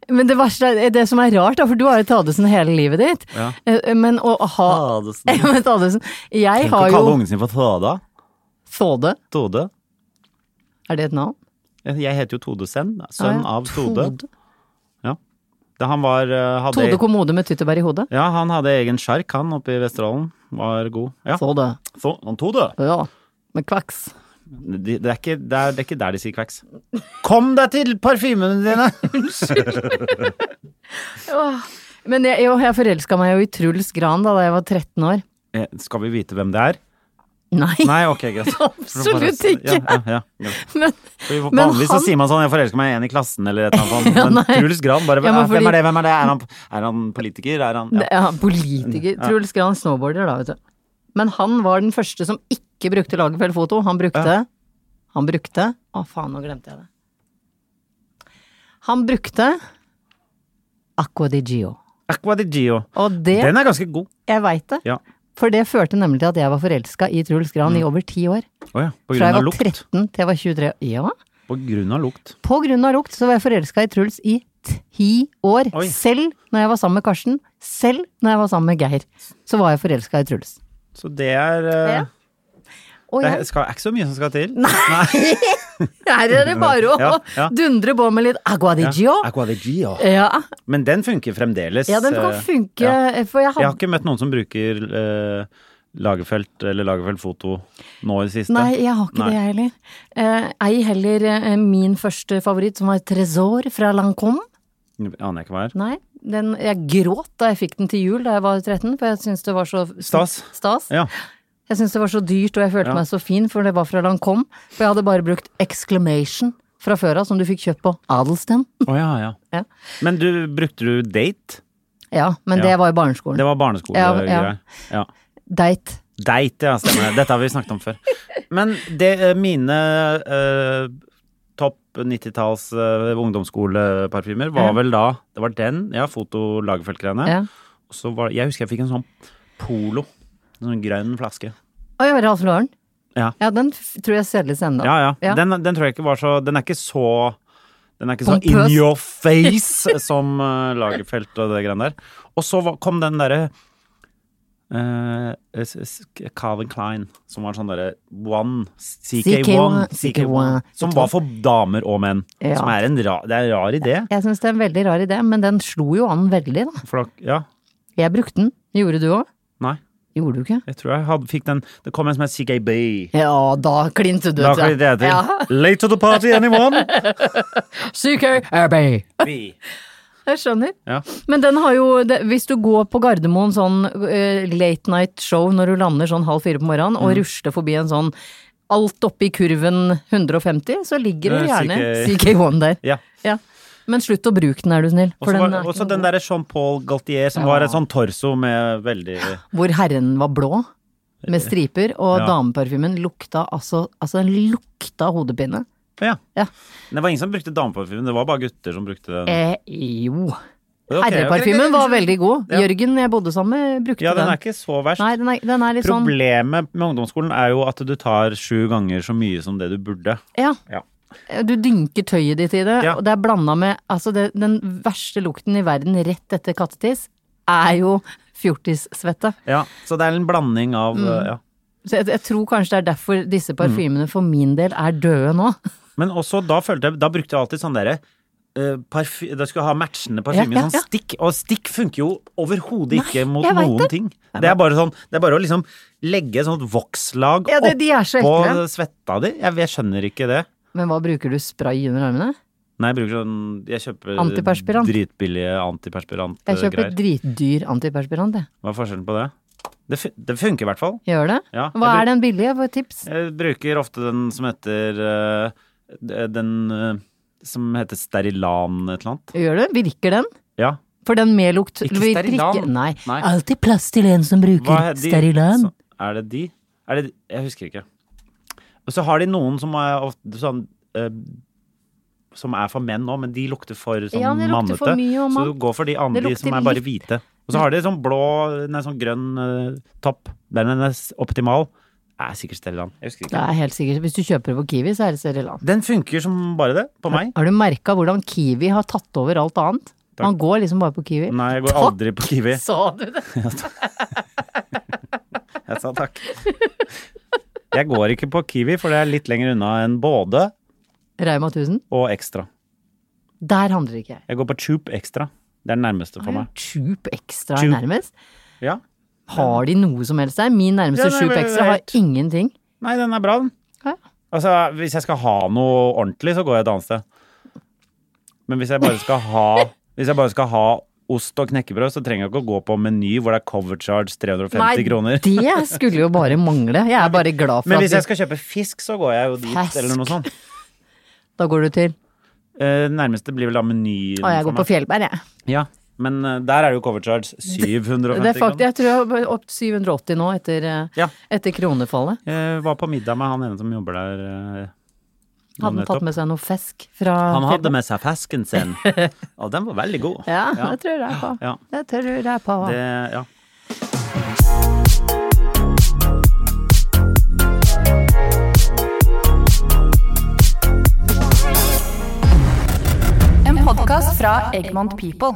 Speaker 1: Men det verste er det som er rart, da, for du har jo Tadesen hele livet ditt.
Speaker 2: Ja.
Speaker 1: Eh, Men å ha
Speaker 2: Tadesen.
Speaker 1: Men Tadesen, jeg
Speaker 2: Tenk å
Speaker 1: har
Speaker 2: kalle
Speaker 1: jo
Speaker 2: ungen sin for Tada.
Speaker 1: Tode.
Speaker 2: Tode.
Speaker 1: Er det et navn?
Speaker 2: Jeg heter jo Todesen.
Speaker 1: Ah,
Speaker 2: Sønn
Speaker 1: ja.
Speaker 2: av Tode. Da han var eh, hadde,
Speaker 1: Tode kommode med tyttebær i hodet?
Speaker 2: Ja, han hadde egen sjark, han, oppe i Vesterålen. Var god. Ja.
Speaker 1: Tode.
Speaker 2: Så- han Tode.
Speaker 1: Ja. Med kvaks.
Speaker 2: De, det, er ikke, det, er, det er ikke der de sier kveks. Kom deg til parfymene dine!
Speaker 1: Men jeg, jo, jeg forelska meg jo i Truls Gran da, da jeg var 13 år.
Speaker 2: Eh, Skal vi vite hvem det er?
Speaker 1: Nei,
Speaker 2: Nei, ok, greit.
Speaker 1: Absolutt ikke.
Speaker 2: Ja, ja, ja.
Speaker 1: men
Speaker 2: Fordi
Speaker 1: Men
Speaker 2: Vanligvis så
Speaker 1: han-
Speaker 2: sier man sånn 'jeg forelsker meg i en i klassen' eller et eller annet sånt.
Speaker 1: Ja,
Speaker 2: Men
Speaker 1: nei.
Speaker 2: Truls Gran bare "Ah,
Speaker 1: Ja, men
Speaker 2: 'Hvem
Speaker 1: fordi-
Speaker 2: er det? Hvem er det? Er han, er han politiker? Er han ja.
Speaker 1: ja, politiker. Truls Gran snowboarder, da, vet du. Men han var den første som ikke brukte Lagerfeld-foto. Han brukte Han brukte Å, faen, nå glemte jeg det. Han brukte Aqua di Gio.
Speaker 2: Aqua di Gio.
Speaker 1: Og det
Speaker 2: Den er ganske god.
Speaker 1: Jeg veit det.
Speaker 2: Ja.
Speaker 1: For det førte nemlig til at jeg var forelska i Truls Gran i over ti år.
Speaker 2: Å ja. På
Speaker 1: Fra
Speaker 2: grunn
Speaker 1: jeg
Speaker 2: av
Speaker 1: var
Speaker 2: lukt.
Speaker 1: 13 til jeg var 23. Ja.
Speaker 2: På grunn av lukt.
Speaker 1: På grunn av lukt så var jeg forelska i Truls i ti år.
Speaker 2: Oi.
Speaker 1: Selv når jeg var sammen med Karsten, selv når jeg var sammen med Geir, så var jeg forelska i Truls.
Speaker 2: Så det er eh,
Speaker 1: Ja. Og
Speaker 2: Det er,
Speaker 1: jeg,
Speaker 2: skal, er ikke så mye som skal til.
Speaker 1: her er det bare å
Speaker 2: Ja, ja.
Speaker 1: dundre på med litt agua di gio.
Speaker 2: Aqua di Gio.
Speaker 1: Ja.
Speaker 2: Men den funker fremdeles.
Speaker 1: ja, den kan
Speaker 2: eh,
Speaker 1: funke,
Speaker 2: ja.
Speaker 1: for jeg
Speaker 2: Jeg har
Speaker 1: hadde
Speaker 2: ikke møtt noen som bruker eh, Lagerfeld eller Lagerfeld Foto nå i det siste.
Speaker 1: Nei, jeg har ikke det, jeg heller. Eh, ei heller eh, min første favoritt, som var Tresor fra Lancôme.
Speaker 2: Aner jeg ikke hva er.
Speaker 1: Nei, den, jeg gråt da jeg fikk den til jul da jeg var 13, for jeg syntes det var så
Speaker 2: Stas.
Speaker 1: stas.
Speaker 2: Ja.
Speaker 1: Jeg syntes det var så dyrt, og jeg følte
Speaker 2: Ja.
Speaker 1: meg så fin, for det var fra Lancôme. For jeg hadde bare brukt exclamation fra før av, som du fikk kjøpt på Adelsten.
Speaker 2: Å ja, ja.
Speaker 1: Ja.
Speaker 2: Men du, brukte du date?
Speaker 1: Ja, men
Speaker 2: Ja.
Speaker 1: det var i barneskolen.
Speaker 2: Det var barneskolegreier.
Speaker 1: Ja,
Speaker 2: Ja,
Speaker 1: ja. Date.
Speaker 2: Date, ja, stemmer det. Dette har vi snakket om før. Men det eh, mine eh, topp 90-talls eh, ungdomsskoleparfymer
Speaker 1: Ja.
Speaker 2: var vel da Det var den, ja, foto Lagerfeld-greiene.
Speaker 1: Ja.
Speaker 2: Og Så var, jeg husker jeg fikk en sånn Polo. En sånn grønn flaske.
Speaker 1: Oi, Ralf Lauren.
Speaker 2: Ja.
Speaker 1: ja, den f- tror jeg selges ennå.
Speaker 2: Ja, ja.
Speaker 1: Ja.
Speaker 2: Den, den tror jeg ikke var så Den er ikke så den er ikke så
Speaker 1: Pompøs.
Speaker 2: in your face som eh, Lagerfeld og det greiene der. Og så var- kom den derre eh, s- s- Calvin Klein, som var sånn derre One, CK1,
Speaker 1: CK1,
Speaker 2: CK1, som var for damer og menn.
Speaker 1: Ja.
Speaker 2: Som er en ra, det er en rar idé.
Speaker 1: Jeg syns det er en veldig rar idé, men den slo jo an veldig, da.
Speaker 2: For da, ja,
Speaker 1: Jeg brukte den. Gjorde du òg?
Speaker 2: nei,
Speaker 1: Gjorde du ikke?
Speaker 2: jeg tror jeg hadde, fikk den Det kom en som het CKB.
Speaker 1: Ja, da klinte du.
Speaker 2: Da
Speaker 1: tror
Speaker 2: kan
Speaker 1: jeg.
Speaker 2: vi det til.
Speaker 1: Ja.
Speaker 2: Late to the party, anyone?
Speaker 1: CKRB.
Speaker 2: Vi.
Speaker 1: Jeg skjønner.
Speaker 2: Ja.
Speaker 1: Men den har jo, det, hvis du går på Gardermoen sånn eh, late night show når du lander sånn halv fire på morgenen
Speaker 2: Mm.
Speaker 1: og rusler forbi en sånn alt oppe i kurven 150, så ligger det
Speaker 2: Eh,
Speaker 1: gjerne CK1 der.
Speaker 2: Ja.
Speaker 1: Ja. Men slutt å bruke den, er du snill.
Speaker 2: Og så
Speaker 1: For den
Speaker 2: var-
Speaker 1: er
Speaker 2: også
Speaker 1: ikke
Speaker 2: den
Speaker 1: noe god.
Speaker 2: derre Jean-Paul Galtier som var et sånn torso med veldig
Speaker 1: Hvor herren var blå med striper, og
Speaker 2: Eh, Ja.
Speaker 1: dameparfymen lukta altså Altså, den lukta hodepine.
Speaker 2: Ja.
Speaker 1: Ja.
Speaker 2: Det var ingen som brukte dameparfyme, det var bare gutter som brukte den.
Speaker 1: Eh, jo.
Speaker 2: Mm. Ok, ok, ok,
Speaker 1: Herreparfymen
Speaker 2: ok.
Speaker 1: var veldig god.
Speaker 2: Ja.
Speaker 1: Jørgen jeg bodde sammen med, brukte
Speaker 2: Ja, den
Speaker 1: den.
Speaker 2: er ikke så verst.
Speaker 1: Nei, den er, den er litt sånn
Speaker 2: Problemet med ungdomsskolen er jo at du tar sju ganger så mye som det du burde.
Speaker 1: Ja. Eh,
Speaker 2: Ja.
Speaker 1: Du dynker tøyet ditt i det,
Speaker 2: Ja.
Speaker 1: og det er blanda med altså det, Den verste lukten i verden rett etter kattetiss er jo fjortissvette.
Speaker 2: Ja, så det er en blanding av
Speaker 1: Mm.
Speaker 2: eh, ja.
Speaker 1: Så jeg, jeg tror kanskje det er derfor
Speaker 2: Mm.
Speaker 1: disse parfymene for min del er døde nå.
Speaker 2: Men også da følte jeg Da brukte jeg alltid sånn derre eh, parfy, da skulle jeg ha matchende parfyme i
Speaker 1: Ja, ja,
Speaker 2: sånn
Speaker 1: ja.
Speaker 2: stikk, og stikk funker jo overhodet ikke mot
Speaker 1: jeg vet
Speaker 2: noen
Speaker 1: det.
Speaker 2: ting. Det er bare sånn Det er bare å liksom legge et sånt vokslag
Speaker 1: Ja, det- de er så
Speaker 2: oppå
Speaker 1: ekle.
Speaker 2: svetta di. Jeg, jeg skjønner ikke det.
Speaker 1: Men hva bruker du spray under armene?
Speaker 2: Nei, jeg bruker sånn Jeg kjøper
Speaker 1: Antiperspirant.
Speaker 2: dritbillige antiperspirantgreier.
Speaker 1: Jeg kjøper dritdyr antiperspirant, jeg.
Speaker 2: Hva er forskjellen på det? Det, fu- det funker i hvert fall.
Speaker 1: Gjør det?
Speaker 2: Ja, jeg
Speaker 1: Hva
Speaker 2: bruk-
Speaker 1: er den billige? Hva er tips?
Speaker 2: Jeg bruker ofte den som heter eh, d- Den eh, som heter Sterilan et eller annet.
Speaker 1: Gjør du? Virker den?
Speaker 2: Ja.
Speaker 1: For den med lukt
Speaker 2: Ikke
Speaker 1: virker
Speaker 2: Sterilan.
Speaker 1: ikke- Nei.
Speaker 2: Nei.
Speaker 1: Alltid plass til en som
Speaker 2: Hva er
Speaker 1: bruker
Speaker 2: de-
Speaker 1: Sterilan.
Speaker 2: så- Er det de? Er det de? Jeg husker ikke. Og så har de noen som er ofte sånn eh, som er for menn òg, men de lukter for sånn
Speaker 1: Ja, det lukter
Speaker 2: mannete.
Speaker 1: for mye og
Speaker 2: så
Speaker 1: mann.
Speaker 2: du går for de
Speaker 1: Det
Speaker 2: andre
Speaker 1: lukter
Speaker 2: som er bare
Speaker 1: litt-
Speaker 2: hvite. Og så har de sånn blå, nei, sånn grønn eh, topp. Den er nes- optimal. Er sikkert Stellan. Jeg husker
Speaker 1: Det
Speaker 2: ikke.
Speaker 1: er helt sikkert. Hvis du kjøper det på Kiwi, så er det Sterilan.
Speaker 2: Den funker som bare det, på meg.
Speaker 1: Har du merka hvordan Kiwi har tatt over alt annet? Man går liksom bare på Kiwi.
Speaker 2: Nei, jeg går aldri på Kiwi.
Speaker 1: Sa du det?
Speaker 2: Jeg sa takk. Jeg går ikke på Kiwi, for det er litt lenger unna enn både
Speaker 1: Reima 1000?
Speaker 2: og Extra.
Speaker 1: Der handler ikke jeg.
Speaker 2: Jeg går på Tube Extra. Det er den nærmeste for meg.
Speaker 1: Tube Extra er
Speaker 2: Tube.
Speaker 1: nærmest.
Speaker 2: Ja.
Speaker 1: Har de noe som helst der? Min nærmeste
Speaker 2: Ja, nei,
Speaker 1: Tube
Speaker 2: men
Speaker 1: Extra har
Speaker 2: helt-
Speaker 1: ingenting.
Speaker 2: Nei, den er bra, den.
Speaker 1: Ja.
Speaker 2: Altså, hvis jeg skal ha noe ordentlig, så går jeg et annet sted. Men hvis jeg bare skal ha Hvis jeg bare skal ha ost og knekkebrød, så trenger jeg ikke å gå på Meny hvor det er cover charge 350 kroner.
Speaker 1: det skulle jo bare mangle. Jeg er bare glad for
Speaker 2: Men hvis jeg
Speaker 1: at du,
Speaker 2: skal kjøpe fisk, så går jeg jo dit,
Speaker 1: Fisk.
Speaker 2: eller noe sånt.
Speaker 1: Da går du til
Speaker 2: Eh, nærmeste blir vel da Meny.
Speaker 1: Å, jeg går på Fjellberg, jeg.
Speaker 2: Ja, men eh, der er det jo cover charge 750
Speaker 1: Det er fakt,
Speaker 2: kroner.
Speaker 1: jeg tror jeg er opp til 780 nå etter, eh,
Speaker 2: Ja.
Speaker 1: etter kronefallet.
Speaker 2: Jeg var på middag med han ene som jobber der. eh, nå
Speaker 1: Hadde han tatt
Speaker 2: nettopp.
Speaker 1: med seg noe fisk fra
Speaker 2: Han hadde
Speaker 1: Fjellberg?
Speaker 2: med seg fesken sin, og den var veldig god.
Speaker 1: Ja, det tror jeg på.
Speaker 2: Ja.
Speaker 1: Det tror jeg på.
Speaker 2: Det, ja.
Speaker 4: En podkast fra Egmont People.